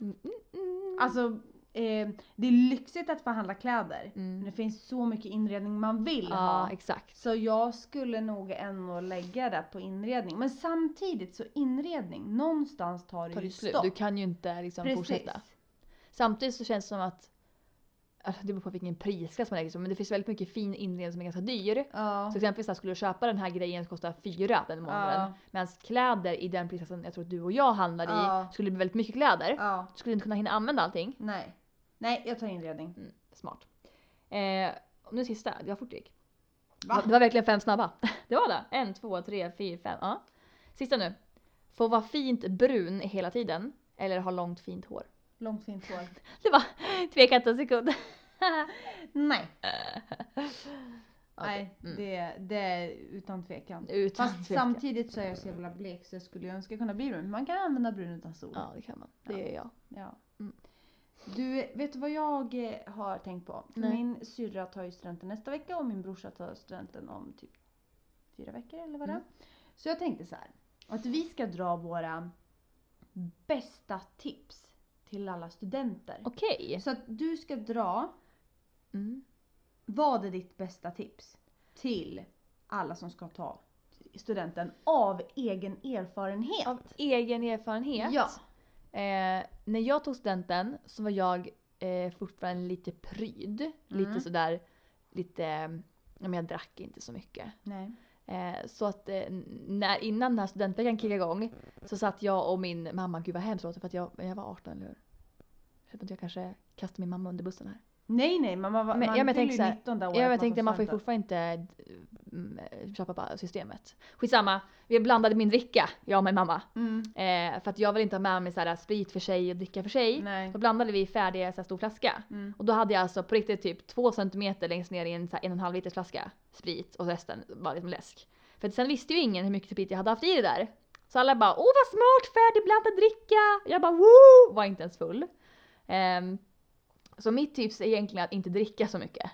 Speaker 2: Mm, mm, mm.
Speaker 1: Alltså, eh, det är lyxigt att få handla kläder. Men
Speaker 2: Mm.
Speaker 1: det finns så mycket inredning man vill ha.
Speaker 2: Ja, exakt.
Speaker 1: Så jag skulle nog ändå lägga det på inredning. Men samtidigt så inredning, någonstans tar det
Speaker 2: Tar
Speaker 1: ju
Speaker 2: det slut.
Speaker 1: stopp.
Speaker 2: Du kan ju inte liksom fortsätta. Samtidigt så känns det som att alltså, det beror på vilken prisklass man lägger sig på, men det finns väldigt mycket fin inredning som är ganska dyr.
Speaker 1: Ja.
Speaker 2: Så exempelvis så här, skulle du köpa den här grejen som kostar fyra den månaden.
Speaker 1: Ja.
Speaker 2: Medan kläder i den prisklassen jag tror att du och jag handlar i
Speaker 1: Ja.
Speaker 2: skulle bli väldigt mycket kläder.
Speaker 1: ja.
Speaker 2: Skulle inte kunna hinna använda allting.
Speaker 1: Nej. Nej, jag tar inredning.
Speaker 2: Mm, smart. Eh, och nu sista, det var fort det gick.
Speaker 1: Va?
Speaker 2: Det var verkligen fem snabba. Det var det. En, två, tre, fyra, fem. Ja. Sista nu. Få vara fint brun hela tiden. Eller ha långt fint hår.
Speaker 1: Långt fint hår.
Speaker 2: Det var tveka inte en sekund.
Speaker 1: Nej.
Speaker 2: Okej.
Speaker 1: Nej,
Speaker 2: Mm.
Speaker 1: det, det är utan tvekan.
Speaker 2: Utan
Speaker 1: Fast
Speaker 2: tvekan.
Speaker 1: samtidigt så är jag så jävla blek så jag skulle ju önska kunna bli brun. Men Man kan använda brun utan sol.
Speaker 2: Ja, det kan man. Det
Speaker 1: Ja.
Speaker 2: gör jag.
Speaker 1: Ja.
Speaker 2: Mm.
Speaker 1: Du, vet du vad jag eh, har tänkt på?
Speaker 2: Nej.
Speaker 1: Min syrra tar ju studenten nästa vecka och min brorsa tar studenten om typ fyra veckor eller vad det är.
Speaker 2: Mm.
Speaker 1: Så jag tänkte så här. Att vi ska dra våra bästa tips till alla studenter.
Speaker 2: Okej.
Speaker 1: Så att du ska dra
Speaker 2: Mm.
Speaker 1: Vad är ditt bästa tips till alla som ska ta studenten av egen erfarenhet?
Speaker 2: Av egen erfarenhet.
Speaker 1: Ja.
Speaker 2: Eh, när jag tog studenten så var jag eh, fortfarande lite pryd. Lite
Speaker 1: Mm.
Speaker 2: sådär, lite, ja, men jag drack inte så mycket.
Speaker 1: Nej.
Speaker 2: Eh, så att eh, när, innan den här studentveckan kickade igång så satt jag och min mamma, gud vad hemskt det låter för att jag, jag var 18 eller hur? Jag vet inte, jag kanske kastar min mamma under bussen här.
Speaker 1: Nej nej, man, man,
Speaker 2: Men- ja,
Speaker 1: man
Speaker 2: men jag
Speaker 1: fyller
Speaker 2: tänker
Speaker 1: ju
Speaker 2: så här,
Speaker 1: 19 där
Speaker 2: Ja, men jag
Speaker 1: året
Speaker 2: tänkte man får ju
Speaker 1: studenten.
Speaker 2: fortfarande inte mm, köpa på systemet. Skitsamma, vi blandade min dricka, jag och min mamma.
Speaker 1: Mm.
Speaker 2: Eh, för att jag vill inte ha med mig så här, sprit för sig och dricka för sig.
Speaker 1: Nej.
Speaker 2: Då blandade vi färdig så här, stor flaska.
Speaker 1: Mm.
Speaker 2: Och då hade jag alltså på riktigt typ två centimeter längst ner i en, så här, en och en halv liters flaska sprit och resten var liksom läsk. För att sen visste ju ingen hur mycket sprit jag hade haft i det där. Så alla bara åh vad smart färdigblandad dricka! Jag bara woo! Var inte ens full. Ehm, så mitt tips är egentligen att inte dricka så mycket.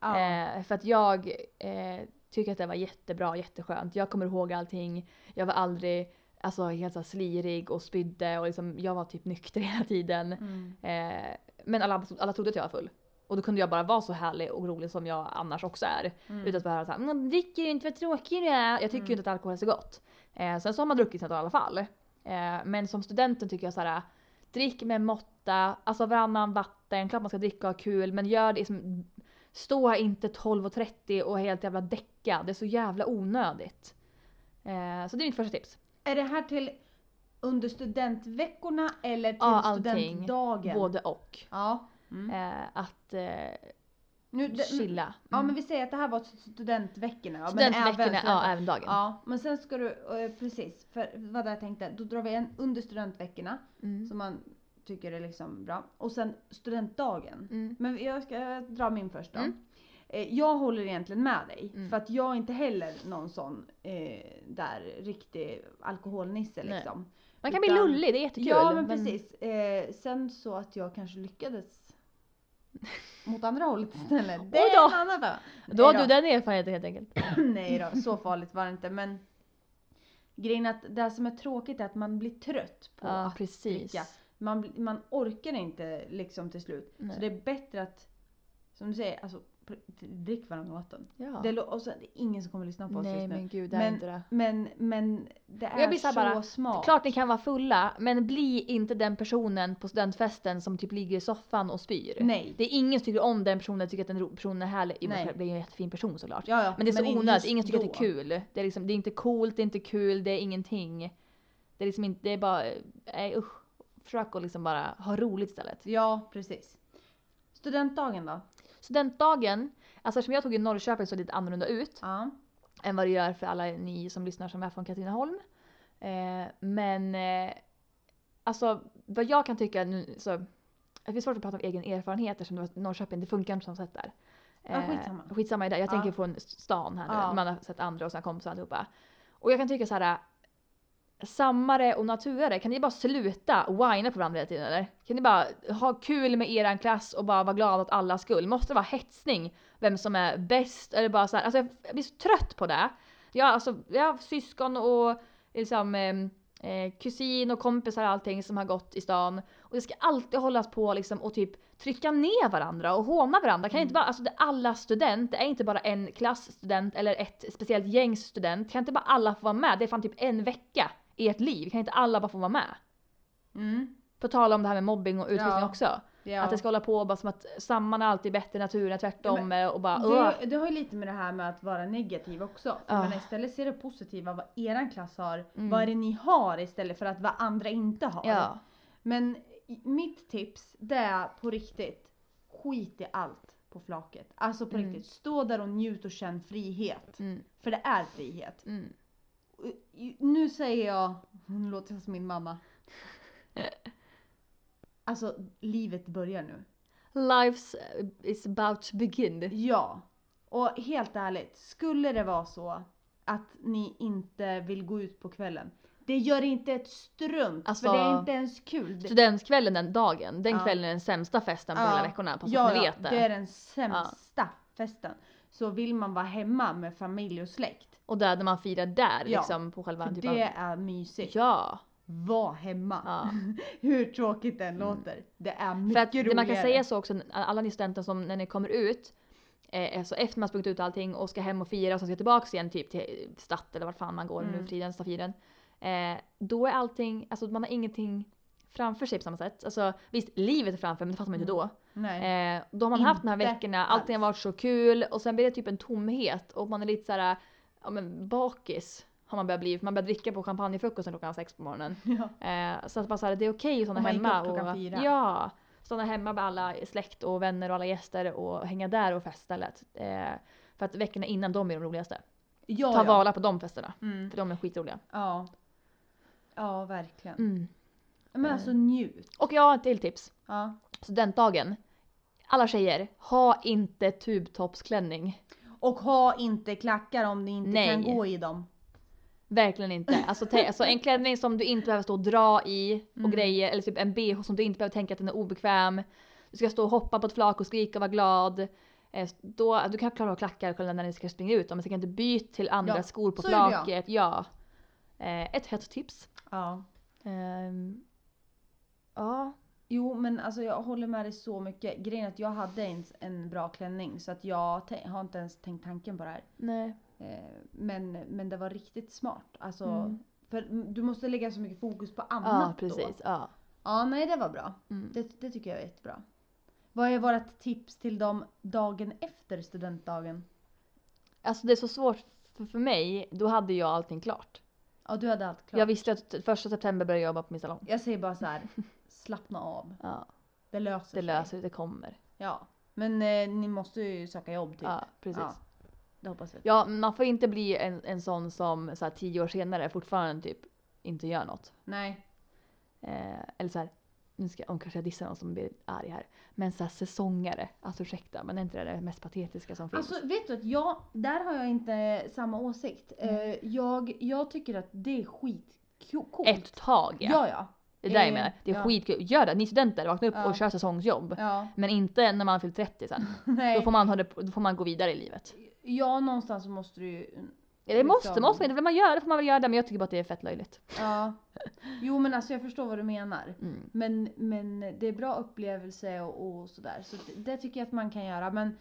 Speaker 1: Ja.
Speaker 2: Eh, för att jag eh, tycker att det var jättebra, jätteskönt. Jag kommer ihåg allting. Jag var aldrig alltså, helt så här slirig och spydde och liksom, jag var typ nykter hela tiden.
Speaker 1: Mm.
Speaker 2: Eh, men alla, alla trodde att jag var full. Och då kunde jag bara vara så härlig och rolig som jag annars också är.
Speaker 1: Mm.
Speaker 2: Utan att behöva säga "Mm, dricker du inte, vad tråkig du är. Jag tycker
Speaker 1: Mm.
Speaker 2: ju inte att alkohol är så gott. Eh, sen så har man druckit sen i alla fall. Eh, men som studenten tycker jag så här. drick med måtta, alltså varannan vatten, klart man ska dricka och ha kul men gör det liksom, stå här inte 12.30 och helt jävla däcka. Det är så jävla onödigt. Eh, så det är mitt första tips.
Speaker 1: Är det här till under studentveckorna eller till
Speaker 2: Ja, allting.
Speaker 1: studentdagen?
Speaker 2: Både och.
Speaker 1: Ja. Mm.
Speaker 2: Eh, att eh,
Speaker 1: Nu, det,
Speaker 2: chilla.
Speaker 1: Ja
Speaker 2: Mm.
Speaker 1: men vi säger att det här var studentveckorna. Ja, men
Speaker 2: Studentveckorna,
Speaker 1: även,
Speaker 2: ja även dagen.
Speaker 1: ja men sen ska du, eh, precis, för vad jag tänkte, då drar vi en under studentveckorna
Speaker 2: Mm.
Speaker 1: som man tycker är liksom bra och sen studentdagen.
Speaker 2: Mm.
Speaker 1: Men jag ska dra min först då.
Speaker 2: Mm.
Speaker 1: Eh, Jag håller egentligen med dig
Speaker 2: Mm.
Speaker 1: för att jag är inte heller någon sån eh, där riktig alkoholnisse
Speaker 2: Nej.
Speaker 1: liksom.
Speaker 2: Man kan bli
Speaker 1: Utan-
Speaker 2: lullig, det är jättekul.
Speaker 1: Ja men precis. Eh, sen så att jag kanske lyckades mot andra hållet istället. Det är
Speaker 2: Oj
Speaker 1: en
Speaker 2: då.
Speaker 1: annan fråga.
Speaker 2: Då har
Speaker 1: Nej
Speaker 2: du den erfarenheten helt enkelt.
Speaker 1: Nej då, så farligt var det inte. Men grejen är att det som är tråkigt är att man blir trött på
Speaker 2: Ja
Speaker 1: att
Speaker 2: precis.
Speaker 1: dricka. man, bli- man orkar inte liksom till slut.
Speaker 2: Nej.
Speaker 1: Så det är bättre att, som du säger, alltså, pr- drick varannan vatten.
Speaker 2: Ja.
Speaker 1: Det, lå- och sen, det är ingen som kommer lyssna på oss
Speaker 2: Nej
Speaker 1: just nu.
Speaker 2: men gud, det är
Speaker 1: Men-
Speaker 2: inte det.
Speaker 1: Men, men det är
Speaker 2: Jag blir så
Speaker 1: så,
Speaker 2: här bara,
Speaker 1: smart.
Speaker 2: Klart ni kan vara fulla, men bli inte den personen på studentfesten som typ ligger i soffan och spyr.
Speaker 1: Nej.
Speaker 2: Det är ingen som tycker om den personen, tycker att den ro- personen är härlig. Jo,
Speaker 1: Nej.
Speaker 2: men det är en jättefin person såklart.
Speaker 1: Ja, ja,
Speaker 2: Men det är så
Speaker 1: inte
Speaker 2: onödigt,
Speaker 1: just
Speaker 2: ingen tycker att
Speaker 1: då.
Speaker 2: det är kul. Det är, liksom, det är inte coolt, det är inte kul, det är ingenting. Det är liksom inte, det är bara, nej usch. Försök att liksom bara ha roligt istället.
Speaker 1: Ja, precis. Studentdagen då?
Speaker 2: Studentdagen, alltså eftersom jag tog i Norrköping så det lite annorlunda ut
Speaker 1: Ja.
Speaker 2: än vad det gör för alla ni som lyssnar som är från Katrineholm. Eh, men eh, alltså vad jag kan tycka nu så, det är svårt att prata om egen erfarenhet eftersom det var Norrköping, det funkar inte på samma sätt där. Eh,
Speaker 1: Ja, skitsamma.
Speaker 2: skitsamma är det. Jag
Speaker 1: Ja.
Speaker 2: tänker från stan här nu,
Speaker 1: Ja.
Speaker 2: man har sett andra och sina kompisar och allihopa. Och jag kan tycka så här. Sammare och naturare, kan ni bara sluta whina på varandra hela tiden eller? Kan ni bara ha kul med eran klass och bara vara glada åt alla skull? Måste det vara hetsning? Vem som är bäst? Eller bara så här, alltså jag jag blir så trött på det. Jag, alltså, jag har syskon och liksom, ehm, eh, kusin och kompisar och allting som har gått i stan. Och det ska alltid hållas på liksom, och typ trycka ner varandra och håna varandra. Kan inte
Speaker 1: Mm.
Speaker 2: bara, alltså, det är alla student, det är inte bara en klass student eller ett speciellt gängs student. Kan inte bara alla få vara med? Det är fan typ en vecka i ert liv. Kan inte alla bara få vara med?
Speaker 1: Mm.
Speaker 2: På tal om det här med mobbing och utfrysning
Speaker 1: Ja.
Speaker 2: också.
Speaker 1: Ja.
Speaker 2: Att det ska hålla på bara som att samman är alltid bättre, naturen är tvärtom eh, och bara "Åh."
Speaker 1: Det, det har ju lite med det här med att vara negativ också. För
Speaker 2: Ja.
Speaker 1: Men istället ser det positiva, vad eran klass har,
Speaker 2: Mm.
Speaker 1: vad är det ni har istället för att vad andra inte har.
Speaker 2: Ja.
Speaker 1: Men i- mitt tips det är på riktigt, skit i allt på flaket. Alltså på
Speaker 2: Mm.
Speaker 1: riktigt, stå där och njut och känn frihet.
Speaker 2: Mm,
Speaker 1: För det är frihet.
Speaker 2: mm.
Speaker 1: Och i- Nu säger jag, nu låter jag som min mamma. Alltså livet börjar nu.
Speaker 2: Life's eh, is about to begin.
Speaker 1: Ja. Och helt ärligt, skulle det vara så att ni inte vill gå ut på kvällen. Det gör inte ett strunt
Speaker 2: Alltså,
Speaker 1: för det är inte ens kul. Det,
Speaker 2: Studentkvällen den dagen, den
Speaker 1: Ja.
Speaker 2: kvällen är den sämsta festen på
Speaker 1: Ja.
Speaker 2: hela veckorna. På
Speaker 1: ja,
Speaker 2: att ni
Speaker 1: ja,
Speaker 2: vet
Speaker 1: det
Speaker 2: det.
Speaker 1: är den sämsta festen. Så vill man vara hemma med familj och släkt.
Speaker 2: Och där när man firar där
Speaker 1: Ja.
Speaker 2: liksom på själva
Speaker 1: För
Speaker 2: typ
Speaker 1: det är mysigt.
Speaker 2: Ja.
Speaker 1: Var hemma.
Speaker 2: Ja. Mm.
Speaker 1: Hur tråkigt den låter. Det är mycket
Speaker 2: För att
Speaker 1: roligare.
Speaker 2: det man kan säga så också, alla ni studenter som när ni kommer ut, eh, alltså efter man sprungit ut allting och ska hem och fira och sen ska tillbaks igen typ till Statt eller vart fan man går nu
Speaker 1: Mm.
Speaker 2: för tiden, Stafiren. Eh, då är allting, alltså man har ingenting framför sig på samma sätt. Alltså visst, livet är framför men det fattar man inte
Speaker 1: Mm.
Speaker 2: då.
Speaker 1: Nej.
Speaker 2: Eh, då har man haft de här
Speaker 1: Inte
Speaker 2: veckorna, allting har varit så kul och sen blir det typ en tomhet och man är lite såhär, ja men bakis har man börjat bli. För man börjar dricka på champagnefrukosten klockan sex på morgonen.
Speaker 1: Ja.
Speaker 2: Eh, så att bara så här, det är okej att stanna
Speaker 1: Och man gick
Speaker 2: hemma.
Speaker 1: upp klockan fyra.
Speaker 2: Ja, stanna hemma med alla släkt och vänner och alla gäster och hänga där och festa lätt. Eh, för att veckorna innan de är de roligaste.
Speaker 1: Ja,
Speaker 2: Ta
Speaker 1: ja.
Speaker 2: vara på de festerna.
Speaker 1: Mm.
Speaker 2: För de är skitroliga.
Speaker 1: Ja. Ja, verkligen.
Speaker 2: Mm.
Speaker 1: Men alltså njut.
Speaker 2: Och jag har ett till tips.
Speaker 1: Ja.
Speaker 2: Studentdagen. Alla tjejer, ha inte tubtoppsklänning.
Speaker 1: Och ha inte klackar om ni inte
Speaker 2: Nej.
Speaker 1: kan gå i dem.
Speaker 2: Verkligen inte. Alltså, te- alltså en klänning som du inte behöver stå och dra i och
Speaker 1: Mm.
Speaker 2: grejer. Eller typ en bh som du inte behöver tänka att den är obekväm. Du ska stå och hoppa på ett flak och skrika och vara glad. Eh, Då, du kan klara av klackar och kolla när ni ska springa ut dem, men sen kan du byta till andra
Speaker 1: Ja,
Speaker 2: skor på
Speaker 1: så gjorde jag.
Speaker 2: flaket. Ja. Eh, Ett hett tips.
Speaker 1: Ja.
Speaker 2: Ehm, Ja.
Speaker 1: Jo men alltså jag håller med dig så mycket. Grejen är att jag hade ens en bra klänning så att jag te- har inte ens tänkt tanken på det här.
Speaker 2: Nej.
Speaker 1: Eh, Men, men det var riktigt smart. Alltså,
Speaker 2: Mm.
Speaker 1: För du måste lägga så mycket fokus på annat
Speaker 2: Ja, precis.
Speaker 1: då.
Speaker 2: Ja.
Speaker 1: Ja nej det var bra.
Speaker 2: Mm.
Speaker 1: Det, det tycker jag är jättebra. Vad är vårt tips till dem dagen efter studentdagen?
Speaker 2: Alltså det är så svårt för, för mig, då hade jag allting klart.
Speaker 1: Ja du hade allt klart.
Speaker 2: Jag
Speaker 1: Jag,
Speaker 2: visste att t- första september började jag jobba på min salong.
Speaker 1: säger bara så här. slappna av.
Speaker 2: Ja,
Speaker 1: Det löser
Speaker 2: det
Speaker 1: sig.
Speaker 2: löser det kommer.
Speaker 1: Ja. Men eh, ni måste ju söka jobb typ.
Speaker 2: Ja, precis.
Speaker 1: Ja. Det hoppas vi.
Speaker 2: Ja, men man får inte bli en, en sån som så här, tio år senare fortfarande typ inte gör något.
Speaker 1: Nej.
Speaker 2: Eh, eller så här, nu ska, om kanske jag dissar någon som blir arg här. Men så här, säsongare, alltså ursäkta, men är inte det det mest patetiska som finns?
Speaker 1: Alltså vet du att jag, där har jag inte samma åsikt.
Speaker 2: Mm.
Speaker 1: Eh, jag, jag tycker att det är skitcoolt.
Speaker 2: Ett tag ja.
Speaker 1: Ja ja.
Speaker 2: det är det jag
Speaker 1: eh,
Speaker 2: menar. Det är
Speaker 1: ja.
Speaker 2: skitkul. Gör det, ni studenter, vakna upp
Speaker 1: Ja.
Speaker 2: och kör säsongsjobb.
Speaker 1: Ja.
Speaker 2: Men inte när man fyllt 30 sen.
Speaker 1: Nej.
Speaker 2: Då får, man, ha det- då får man gå vidare i livet.
Speaker 1: Ja någonstans så måste du ju...
Speaker 2: Eller måste,
Speaker 1: Liksom.
Speaker 2: måste man inte, vill man göra det får man väl göra det. Men jag tycker bara att det är fett löjligt.
Speaker 1: Ja. Jo men alltså jag förstår vad du menar.
Speaker 2: Mm.
Speaker 1: Men, men det är bra upplevelse och, och sådär. Så det, det tycker jag att man kan göra. Men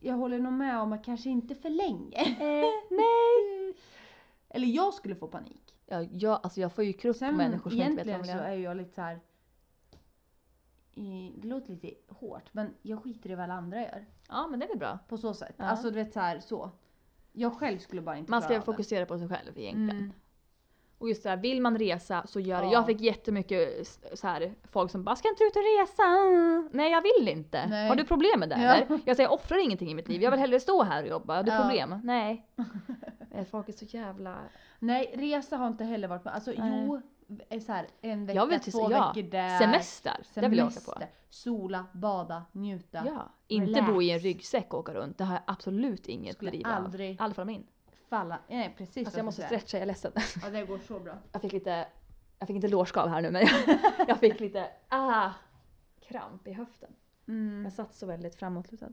Speaker 1: jag håller nog med om att kanske inte för länge.
Speaker 2: Eh,
Speaker 1: nej. Eller jag skulle få panik.
Speaker 2: Ja, jag, alltså jag får ju krupp på
Speaker 1: Sen
Speaker 2: människor som inte vet vad de
Speaker 1: egentligen
Speaker 2: vill
Speaker 1: så
Speaker 2: göra.
Speaker 1: är jag lite så här. i- Det låter lite hårt men jag skiter i vad alla andra gör.
Speaker 2: Ja men det är väl bra.
Speaker 1: På så sätt.
Speaker 2: Ja.
Speaker 1: Alltså du vet så här så. Jag själv skulle bara inte
Speaker 2: Man ska
Speaker 1: klara av
Speaker 2: fokusera på sig själv
Speaker 1: det.
Speaker 2: egentligen.
Speaker 1: Mm.
Speaker 2: Och just det här, vill man resa så gör det.
Speaker 1: Ja.
Speaker 2: Jag fick jättemycket s- så här, folk som bara “ska inte du ut och resa?” Nej jag vill inte.
Speaker 1: Nej.
Speaker 2: Har du problem med det
Speaker 1: Ja.
Speaker 2: eller? Jag säger offrar ingenting i mitt liv, jag vill hellre stå här och jobba. Har du
Speaker 1: Ja.
Speaker 2: problem? Nej. Eh, Folk är så jävla...
Speaker 1: Nej resa har inte heller varit med. Alltså
Speaker 2: Nej.
Speaker 1: jo, är så här, en vecka,
Speaker 2: Jag vill till-
Speaker 1: två
Speaker 2: ja.
Speaker 1: veckor där.
Speaker 2: Semester, det vill jag åka på.
Speaker 1: eh, Semester. Sola, bada, njuta.
Speaker 2: Ja. Inte
Speaker 1: Relax.
Speaker 2: bo i en ryggsäck och åka runt, det har jag absolut inget
Speaker 1: Skulle
Speaker 2: driv av. I
Speaker 1: aldrig-
Speaker 2: alla fall min.
Speaker 1: Falla. Nej precis
Speaker 2: Alltså
Speaker 1: vad
Speaker 2: jag måste
Speaker 1: skulle säga.
Speaker 2: stretcha, jag är ledsen.
Speaker 1: Ja det går så bra.
Speaker 2: Jag fick lite, jag fick inte lårskav här nu men jag fick lite ah, kramp i höften.
Speaker 1: Mm.
Speaker 2: Jag satt så väldigt framåtlutad.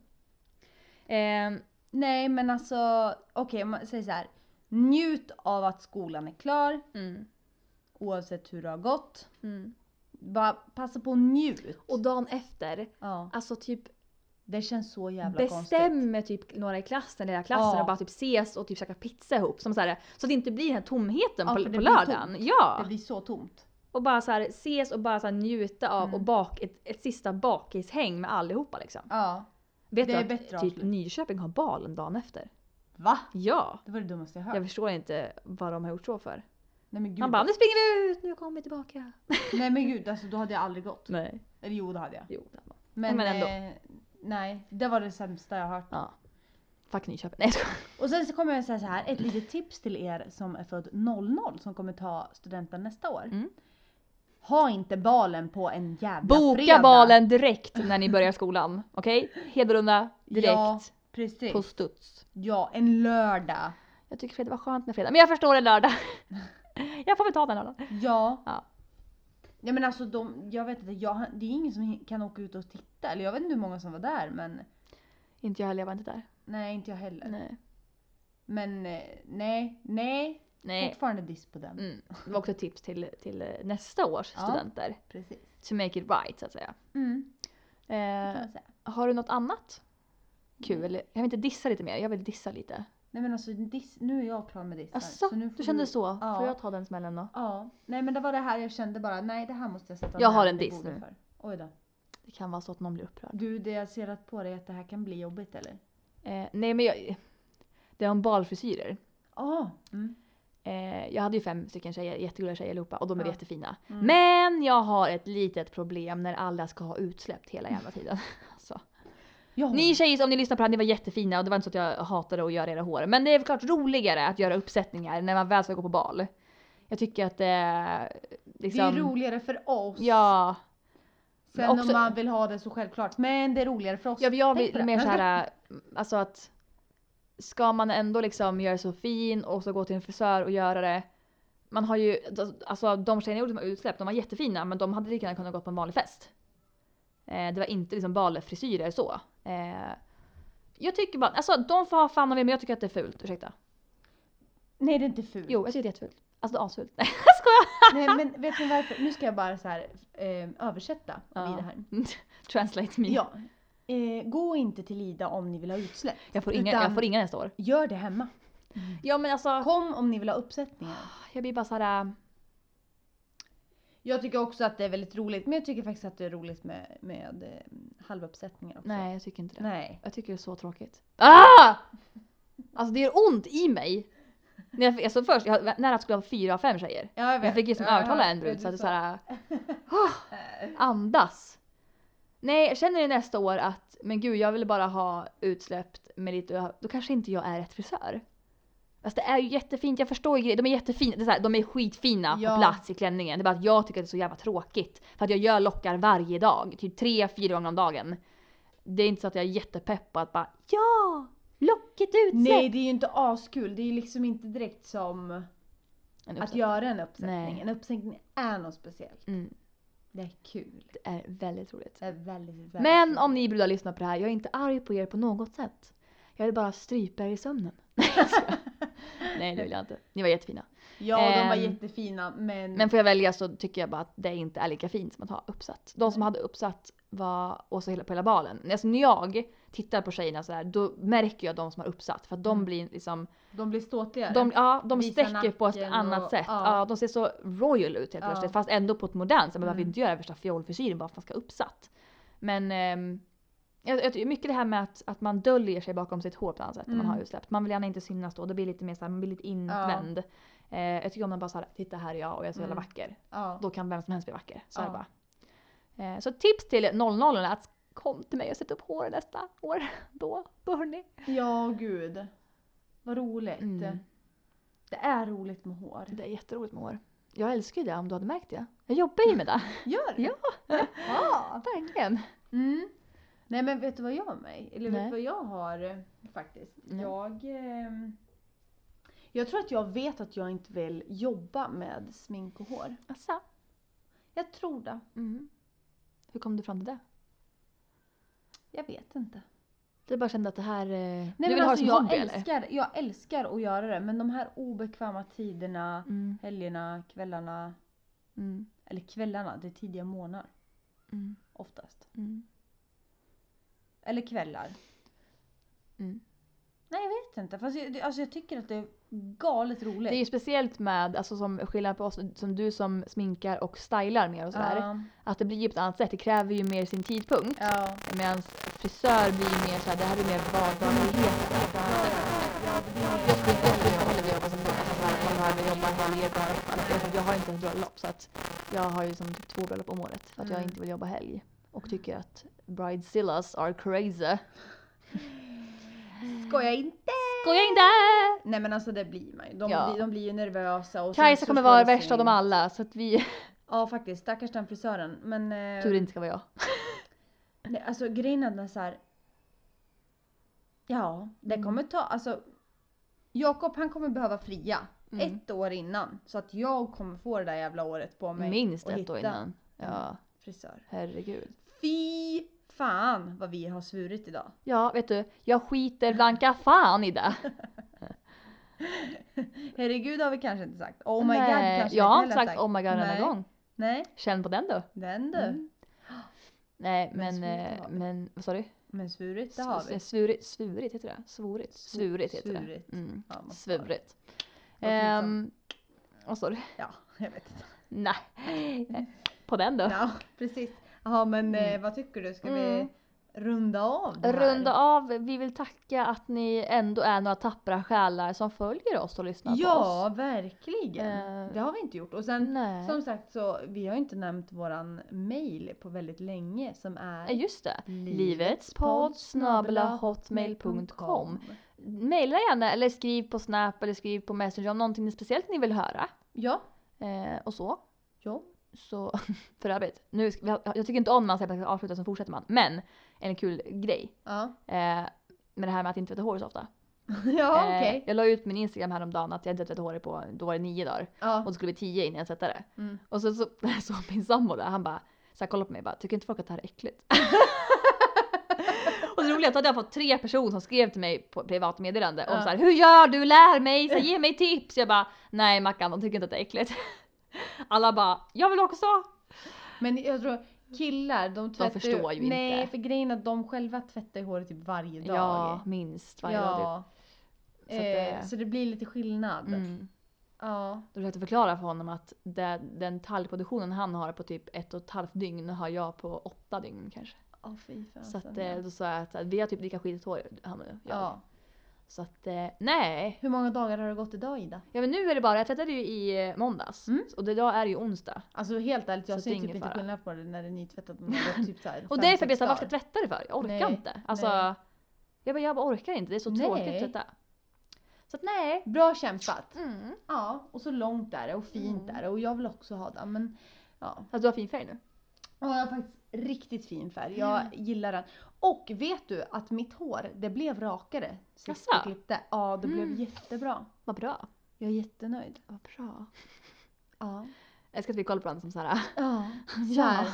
Speaker 2: Ehm,
Speaker 1: Nej men alltså okej om man säger så här. Njut av att skolan är klar.
Speaker 2: mm,
Speaker 1: oavsett hur det har gått.
Speaker 2: mm.
Speaker 1: Bara passa på att njut.
Speaker 2: Och dagen efter,
Speaker 1: ja,
Speaker 2: alltså typ
Speaker 1: det känns så jävla konstigt.
Speaker 2: bestämmer typ några i klassen, hela klassen
Speaker 1: Ja.
Speaker 2: och bara typ ses och typ käkar pizza ihop. Som så, här, så att det inte blir den här tomheten
Speaker 1: Ja,
Speaker 2: på,
Speaker 1: för det
Speaker 2: på
Speaker 1: blir
Speaker 2: lördagen.
Speaker 1: tomt.
Speaker 2: Ja!
Speaker 1: Det blir så tomt.
Speaker 2: Och bara så här, ses och bara så här, njuta av
Speaker 1: Mm.
Speaker 2: och bak, ett, ett sista bakishäng med allihopa liksom.
Speaker 1: Ja.
Speaker 2: Vet
Speaker 1: Det
Speaker 2: du
Speaker 1: är
Speaker 2: att
Speaker 1: bättre
Speaker 2: typ
Speaker 1: avslut.
Speaker 2: Nyköping har balen dagen efter?
Speaker 1: Va?
Speaker 2: Ja!
Speaker 1: Det var det dummaste jag hört.
Speaker 2: Jag förstår inte vad de har gjort så för.
Speaker 1: Nej men gud.
Speaker 2: Han bara nu springer vi ut, nu kommer vi tillbaka.
Speaker 1: Nej men gud, alltså då hade jag aldrig gått.
Speaker 2: Nej.
Speaker 1: Eller jo det hade jag.
Speaker 2: Jo, det var-
Speaker 1: Men,
Speaker 2: Men
Speaker 1: Eh, nej, det var det sämsta jag hört.
Speaker 2: ja. Fuck Nyköping. Nej jag skojar.
Speaker 1: Och sen så kommer jag säga så här, ett litet tips till er som är född 00 som kommer ta studenten nästa år.
Speaker 2: Mm.
Speaker 1: Ha inte balen på en jävla
Speaker 2: Boka
Speaker 1: fredag.
Speaker 2: balen direkt när ni börjar skolan. Okej? Hedlunda, direkt,
Speaker 1: Ja, precis.
Speaker 2: på studs.
Speaker 1: Ja, en lördag.
Speaker 2: Jag tycker fredag var skönt med fredag, men jag förstår en lördag. jag får väl ta den lördagen.
Speaker 1: Ja.
Speaker 2: Ja.
Speaker 1: Nej men alltså de, jag vet inte, jag, det är ingen som hin- kan åka ut och titta. Eller jag vet inte hur många som var där men
Speaker 2: Inte jag heller, jag var inte där.
Speaker 1: nej inte jag heller.
Speaker 2: Nej.
Speaker 1: Men eh, nej, nej.
Speaker 2: Nej.
Speaker 1: Fortfarande diss på den.
Speaker 2: Mm. Det var också ett tips till, till eh, nästa års
Speaker 1: Ja.
Speaker 2: studenter.
Speaker 1: Precis.
Speaker 2: To make it right så att säga.
Speaker 1: Mm, det kan
Speaker 2: Eh,
Speaker 1: man säga.
Speaker 2: har du något annat kul? Jag vill inte dissa lite mer, jag vill dissa lite.
Speaker 1: Nej men alltså diss, nu är jag klar med dissar.
Speaker 2: Asså,
Speaker 1: nu får
Speaker 2: du kände så?
Speaker 1: Ja.
Speaker 2: Får jag ta den smällen då?
Speaker 1: Ja. Nej men det var det här jag kände bara, nej det här måste jag sätta
Speaker 2: Jag
Speaker 1: ner
Speaker 2: har en
Speaker 1: på
Speaker 2: diss
Speaker 1: bordet
Speaker 2: nu.
Speaker 1: För. Oj då.
Speaker 2: Det kan vara så att någon blir upprörd.
Speaker 1: Du, det jag ser att på dig att det här kan bli jobbigt eller?
Speaker 2: Eh, nej men jag, det är om balfrisyrer.
Speaker 1: Ja. Mm.
Speaker 2: Eh, jag hade ju fem stycken tjejer, jättegulliga tjejer allihopa och de är
Speaker 1: Ja.
Speaker 2: jättefina.
Speaker 1: Mm.
Speaker 2: Men jag har ett litet problem när alla ska ha utsläppt hela jävla tiden. alltså.
Speaker 1: Ja.
Speaker 2: Ni tjejer om ni lyssnar på det här, ni var jättefina och det var inte så att jag hatade att göra era hår. Men det är klart roligare att göra uppsättningar när man väl ska gå på bal. Jag tycker att eh,
Speaker 1: Det är
Speaker 2: liksom,
Speaker 1: ju roligare för oss.
Speaker 2: Ja,
Speaker 1: Sen
Speaker 2: också-
Speaker 1: om man vill ha det så självklart. Men det är roligare för oss.
Speaker 2: jag, jag
Speaker 1: Tänk på
Speaker 2: vill
Speaker 1: det.
Speaker 2: mer såhär, alltså att ska man ändå liksom göra så fin och så gå till en frisör och göra det. Man har ju, alltså de tjejerna jag gjorde som var utsläpp, de var jättefina men de hade lika gärna kunnat gå på en vanlig fest. Eh, det var inte liksom balfrisyrer så. Eh, jag tycker bara, alltså de får ha fan om det men jag tycker att det är fult, ursäkta.
Speaker 1: Nej det är inte fult.
Speaker 2: Jo, jag tycker det är jättefult. Alltså det är asfult.
Speaker 1: Nej men vet ni varför? Nu ska jag bara så här, eh, översätta
Speaker 2: Ja.
Speaker 1: i det här.
Speaker 2: Translate me.
Speaker 1: Ja. Eh, gå inte till Ida om ni vill ha utsläpp.
Speaker 2: Jag, får inga,
Speaker 1: Utan-
Speaker 2: jag får inga nästa år.
Speaker 1: Gör det hemma.
Speaker 2: Ja men alltså,
Speaker 1: Kom om ni vill ha uppsättningar.
Speaker 2: jag blir bara äh, såhär,
Speaker 1: Jag tycker också att det är väldigt roligt, men jag tycker faktiskt att det är roligt med, med eh, halvuppsättningar också.
Speaker 2: nej jag tycker inte det.
Speaker 1: Nej.
Speaker 2: Jag tycker det är så tråkigt. Ah! Alltså det gör ont i mig. När jag, alltså först, jag var nära att skulle ha fyra av fem tjejer.
Speaker 1: Ja,
Speaker 2: Jag fick liksom övertala en brud så att det såhär, oh, andas. Nej, känner ni nästa år att men gud jag vill bara ha utsläppt med lite, då kanske inte jag är rätt frisör. Alltså det är ju jättefint, jag förstår ju grejen. De är jättefina, det är så här, de är skitfina
Speaker 1: Ja.
Speaker 2: på plats i klänningen. Det är bara att jag tycker att det är så jävla tråkigt. För att jag gör lockar varje dag, typ tre, fyra gånger om dagen. Det är inte så att jag är jättepepp på att bara ja, locket utsläppt.
Speaker 1: Nej det är ju inte askul, det är ju liksom inte direkt som
Speaker 2: En
Speaker 1: att
Speaker 2: uppsättning.
Speaker 1: göra en uppsättning.
Speaker 2: Nej.
Speaker 1: En uppsättning är något speciellt.
Speaker 2: Mm,
Speaker 1: Det är kul.
Speaker 2: det är väldigt roligt.
Speaker 1: Det är väldigt, väldigt
Speaker 2: Men
Speaker 1: kul.
Speaker 2: om ni brudar lyssnar på det här, jag är inte arg på er på något sätt. Jag vill bara strypa er i sömnen. Nej det vill jag inte. Ni var jättefina.
Speaker 1: Ja de var
Speaker 2: Ehm,
Speaker 1: jättefina men...
Speaker 2: Men får jag välja så tycker jag bara att det inte är lika fint som att ha uppsatt. De som hade uppsatt var och så hela, på hela balen. Alltså när jag tittar på tjejerna så här, då märker jag de som har uppsatt. För att de
Speaker 1: Mm.
Speaker 2: blir liksom,
Speaker 1: de blir ståtligare.
Speaker 2: de, ja, de
Speaker 1: Visa
Speaker 2: sträcker på ett
Speaker 1: nacken
Speaker 2: annat
Speaker 1: och-
Speaker 2: sätt. Ja.
Speaker 1: ja.
Speaker 2: de ser så royal ut helt
Speaker 1: Ja.
Speaker 2: plötsligt. Fast ändå på ett modernt sätt. Man behöver
Speaker 1: Mm.
Speaker 2: inte göra värsta fiolfrisyren bara för att man ska ha uppsatt. Men ehm, jag, jag tycker mycket det här med att, att man döljer sig bakom sitt hår på ett annat sätt när man
Speaker 1: Mm.
Speaker 2: har utsläppt. Man vill gärna inte synas då. Det blir lite mer såhär, man blir lite invänd. Eh, jag tycker om man bara såhär, titta här är jag och jag är så jävla
Speaker 1: Mm.
Speaker 2: vacker.
Speaker 1: ja.
Speaker 2: Då kan vem som helst bli vacker. Så är det
Speaker 1: Ja.
Speaker 2: bara. Eh, så tips till 00 är att kom till mig och sätt upp hår nästa år. Då, då hörni.
Speaker 1: ja gud. Vad roligt.
Speaker 2: Mm.
Speaker 1: Det är roligt med hår.
Speaker 2: Det är jätteroligt med hår. Jag älskar ju det om du hade märkt det. Jag jobbar ju med det.
Speaker 1: Gör det?
Speaker 2: Ja.
Speaker 1: Jaha.
Speaker 2: Verkligen.
Speaker 1: Mm. Nej men vet du vad jag har mig? Eller vet
Speaker 2: Nej.
Speaker 1: du vad jag har eh, faktiskt?
Speaker 2: Nej.
Speaker 1: Jag... ehm, jag tror att jag vet att jag inte vill jobba med smink och hår.
Speaker 2: Asså.
Speaker 1: Jag tror det.
Speaker 2: Mm. Hur kom du fram till det?
Speaker 1: Jag vet inte.
Speaker 2: Du bara kände att det här... eh,
Speaker 1: Nej,
Speaker 2: du
Speaker 1: men
Speaker 2: vill
Speaker 1: alltså,
Speaker 2: ha det som
Speaker 1: jag,
Speaker 2: hobby eller?
Speaker 1: älskar, jag älskar att göra det men de här obekväma tiderna,
Speaker 2: Mm.
Speaker 1: helgerna, kvällarna.
Speaker 2: Mm.
Speaker 1: Eller kvällarna, det är tidiga månader
Speaker 2: Mm.
Speaker 1: oftast.
Speaker 2: Mm.
Speaker 1: Eller kvällar.
Speaker 2: Mm.
Speaker 1: Nej jag vet inte. Fast jag, det- alltså, jag tycker att det är galet roligt.
Speaker 2: Det är ju speciellt med, alltså som skillnad på oss, som du som sminkar och stylar mer och sådär.
Speaker 1: Ja,
Speaker 2: Att det blir ju på ett annat sätt, det kräver ju mer sin tidpunkt.
Speaker 1: ja.
Speaker 2: Medan frisör blir ju mer såhär, det här är mer vardaglighet. Jag skulle aldrig vilja jobba som jag jobbar helger. Jag- Jag har inte ett bröllop så att jag har ju som typ två bröllop om året för att jag
Speaker 1: Mm.
Speaker 2: inte vill jobba helg. Och tycker att bridezillas are crazy.
Speaker 1: Skoja inte!
Speaker 2: Skoja inte!
Speaker 1: Mm. Nej men alltså det blir man ju. De,
Speaker 2: Ja.
Speaker 1: blir, de blir ju nervösa. Och sen
Speaker 2: Kajsa
Speaker 1: så
Speaker 2: kommer
Speaker 1: slår
Speaker 2: vara
Speaker 1: det
Speaker 2: värst av
Speaker 1: sväng.
Speaker 2: dem alla så att vi...
Speaker 1: Ja faktiskt, stackars den frisören. Men eh,
Speaker 2: Tur det inte ska vara jag.
Speaker 1: nej, alltså grejen är den så här. Ja, det
Speaker 2: Mm.
Speaker 1: kommer ta, alltså Jakob han kommer behöva fria
Speaker 2: Mm.
Speaker 1: ett år innan så att jag kommer få det där jävla året på mig.
Speaker 2: Minst
Speaker 1: och
Speaker 2: ett år
Speaker 1: hitta Mm.
Speaker 2: innan. Ja,
Speaker 1: Frisör.
Speaker 2: herregud.
Speaker 1: Fy fan vad vi har svurit idag.
Speaker 2: Ja, vet du. Jag skiter blanka fan i det.
Speaker 1: Herregud har vi kanske inte sagt. Oh my god
Speaker 2: Nej,
Speaker 1: kanske
Speaker 2: Jag
Speaker 1: inte
Speaker 2: har
Speaker 1: heller
Speaker 2: inte sagt oh my god
Speaker 1: Nej.
Speaker 2: en gång.
Speaker 1: Nej,
Speaker 2: Känn på den då.
Speaker 1: den du.
Speaker 2: Mm. Nej
Speaker 1: Men
Speaker 2: men,
Speaker 1: svurit har
Speaker 2: eh,
Speaker 1: vi.
Speaker 2: men vad sa du?
Speaker 1: Men svurit det har vi.
Speaker 2: S- eh, Svurit, svurit heter det? Svorit?
Speaker 1: Svu-
Speaker 2: Svurit heter
Speaker 1: svurit.
Speaker 2: det. Mm.
Speaker 1: Ja, man får-
Speaker 2: Svurit.
Speaker 1: Låter lite som-
Speaker 2: Ehm, vad sa du?
Speaker 1: Ja, jag vet inte.
Speaker 2: Nej. På den då.
Speaker 1: Ja, precis. Jaha men
Speaker 2: Mm.
Speaker 1: eh, vad tycker du? Ska
Speaker 2: Mm.
Speaker 1: vi runda av det här?
Speaker 2: Runda av. Vi vill tacka att ni ändå är några tappra själar som följer oss och lyssnar på oss.
Speaker 1: Ja, verkligen.
Speaker 2: Eh,
Speaker 1: Det har vi inte gjort. Och sen
Speaker 2: Nej.
Speaker 1: som sagt så, vi har inte nämnt våran mail på väldigt länge som är
Speaker 2: Ja, just det.
Speaker 1: Liv-
Speaker 2: Livetspoddsnabelahotmail.com Maila gärna eller skriv på Snap eller skriv på Messenger om någonting speciellt ni vill höra.
Speaker 1: Ja,
Speaker 2: Eh, och så.
Speaker 1: ja.
Speaker 2: Så för övrigt, nu, ska- jag, jag tycker inte om när man säger att man ska avsluta så fortsätter man. Men en kul grej.
Speaker 1: Ja,
Speaker 2: Eh, med det här med att inte tvätta håret så ofta.
Speaker 1: ja okej.
Speaker 2: Eh, jag la ut min Instagram häromdagen att jag inte tvättat håret på, då var det nio dagar. Och
Speaker 1: Ja.
Speaker 2: det skulle bli tio innan jag tvättade det.
Speaker 1: Mm.
Speaker 2: Och så såg så, så min sambo där, han bara så här, kollade på mig och bara “tycker inte folk att det här är äckligt?” Och det roliga är att jag har fått tre personer som skrev till mig på privat meddelande om
Speaker 1: Ja.
Speaker 2: så här “hur gör du? Lär mig! Så här, ge mig tips!” Jag bara “nej Mackan, de tycker inte att det är äckligt”. Alla bara “jag vill också!”
Speaker 1: Men jag tror killar de tvättar
Speaker 2: förstår ju inte.
Speaker 1: Nej för grejen är att de själva tvättar ju håret typ varje dag.
Speaker 2: Ja, minst varje dag.
Speaker 1: ja.
Speaker 2: typ. Så
Speaker 1: Så,
Speaker 2: att
Speaker 1: eh,
Speaker 2: det-
Speaker 1: så det blir lite skillnad.
Speaker 2: Mm.
Speaker 1: Ja.
Speaker 2: Då försökte jag förklara för honom att det, den talgproduktionen han har på typ ett och ett halvt dygn har jag på åtta dygn kanske.
Speaker 1: Åh fy fan.
Speaker 2: Så att, eh, då sa jag att, att vi har typ lika skitigt hår han och jag.
Speaker 1: ja.
Speaker 2: Så att eh, nej.
Speaker 1: Hur många dagar har det gått idag Ida?
Speaker 2: Ja men nu är det bara, jag tvättade ju i eh, måndags
Speaker 1: Mm.
Speaker 2: och det- idag är det ju onsdag.
Speaker 1: Alltså helt ärligt jag
Speaker 2: Så
Speaker 1: ser
Speaker 2: det är
Speaker 1: typ
Speaker 2: ingen
Speaker 1: inte
Speaker 2: fara.
Speaker 1: skillnad på det när det är nytvättat. men det har gått typ så här
Speaker 2: Och
Speaker 1: fem,
Speaker 2: det är för att jag
Speaker 1: sex
Speaker 2: sa, varför ska
Speaker 1: dagar.
Speaker 2: jag tvätta det för? Jag orkar
Speaker 1: Nej,
Speaker 2: inte. Alltså,
Speaker 1: nej.
Speaker 2: jag bara, jag bara orkar inte, det är så
Speaker 1: Nej.
Speaker 2: tråkigt att tvätta. Så att nej.
Speaker 1: Bra kämpat.
Speaker 2: Mm.
Speaker 1: Ja och så långt är det och fint
Speaker 2: Mm.
Speaker 1: är det och jag vill också ha det. Men ja.
Speaker 2: Alltså du har fin färg nu.
Speaker 1: Ja, jag har faktiskt riktigt fin färg. Jag gillar den. Och vet du att mitt hår, det blev rakare sist jag
Speaker 2: Jaså?
Speaker 1: klippte. Ja, det blev
Speaker 2: Mm.
Speaker 1: jättebra.
Speaker 2: Vad bra.
Speaker 1: Jag är jättenöjd.
Speaker 2: Vad bra.
Speaker 1: Ja.
Speaker 2: Jag älskar att vi kollar på varandra som såhär,
Speaker 1: Ja. Så
Speaker 2: ja.
Speaker 1: här.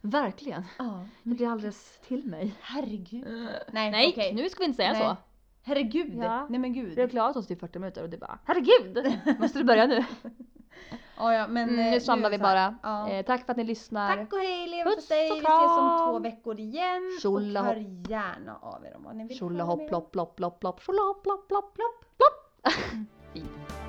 Speaker 2: Verkligen.
Speaker 1: ja.
Speaker 2: Det blir alldeles till mig.
Speaker 1: Herregud.
Speaker 2: Nej,
Speaker 1: Nej, okej.
Speaker 2: nu ska vi inte säga
Speaker 1: Nej.
Speaker 2: så.
Speaker 1: Herregud.
Speaker 2: Ja.
Speaker 1: Nej men
Speaker 2: Vi har
Speaker 1: gud.
Speaker 2: klarat oss till 40 minuter och du bara herregud, måste du börja nu?
Speaker 1: Ja, ja, men, eh,
Speaker 2: Mm, nu samlar
Speaker 1: är
Speaker 2: vi
Speaker 1: det så här.
Speaker 2: bara.
Speaker 1: Ja.
Speaker 2: Eh, tack för att ni lyssnar.
Speaker 1: Tack och hej leverpastej.
Speaker 2: Puss och
Speaker 1: Vi ses om
Speaker 2: kram.
Speaker 1: två veckor igen.
Speaker 2: Tjolla
Speaker 1: och hör gärna av er om vad ni vill
Speaker 2: Tjolla
Speaker 1: höra
Speaker 2: hopp
Speaker 1: mer om.
Speaker 2: plopp plopp plopp plopp tjolla hopp plopp plopp plopp plopp. Fint.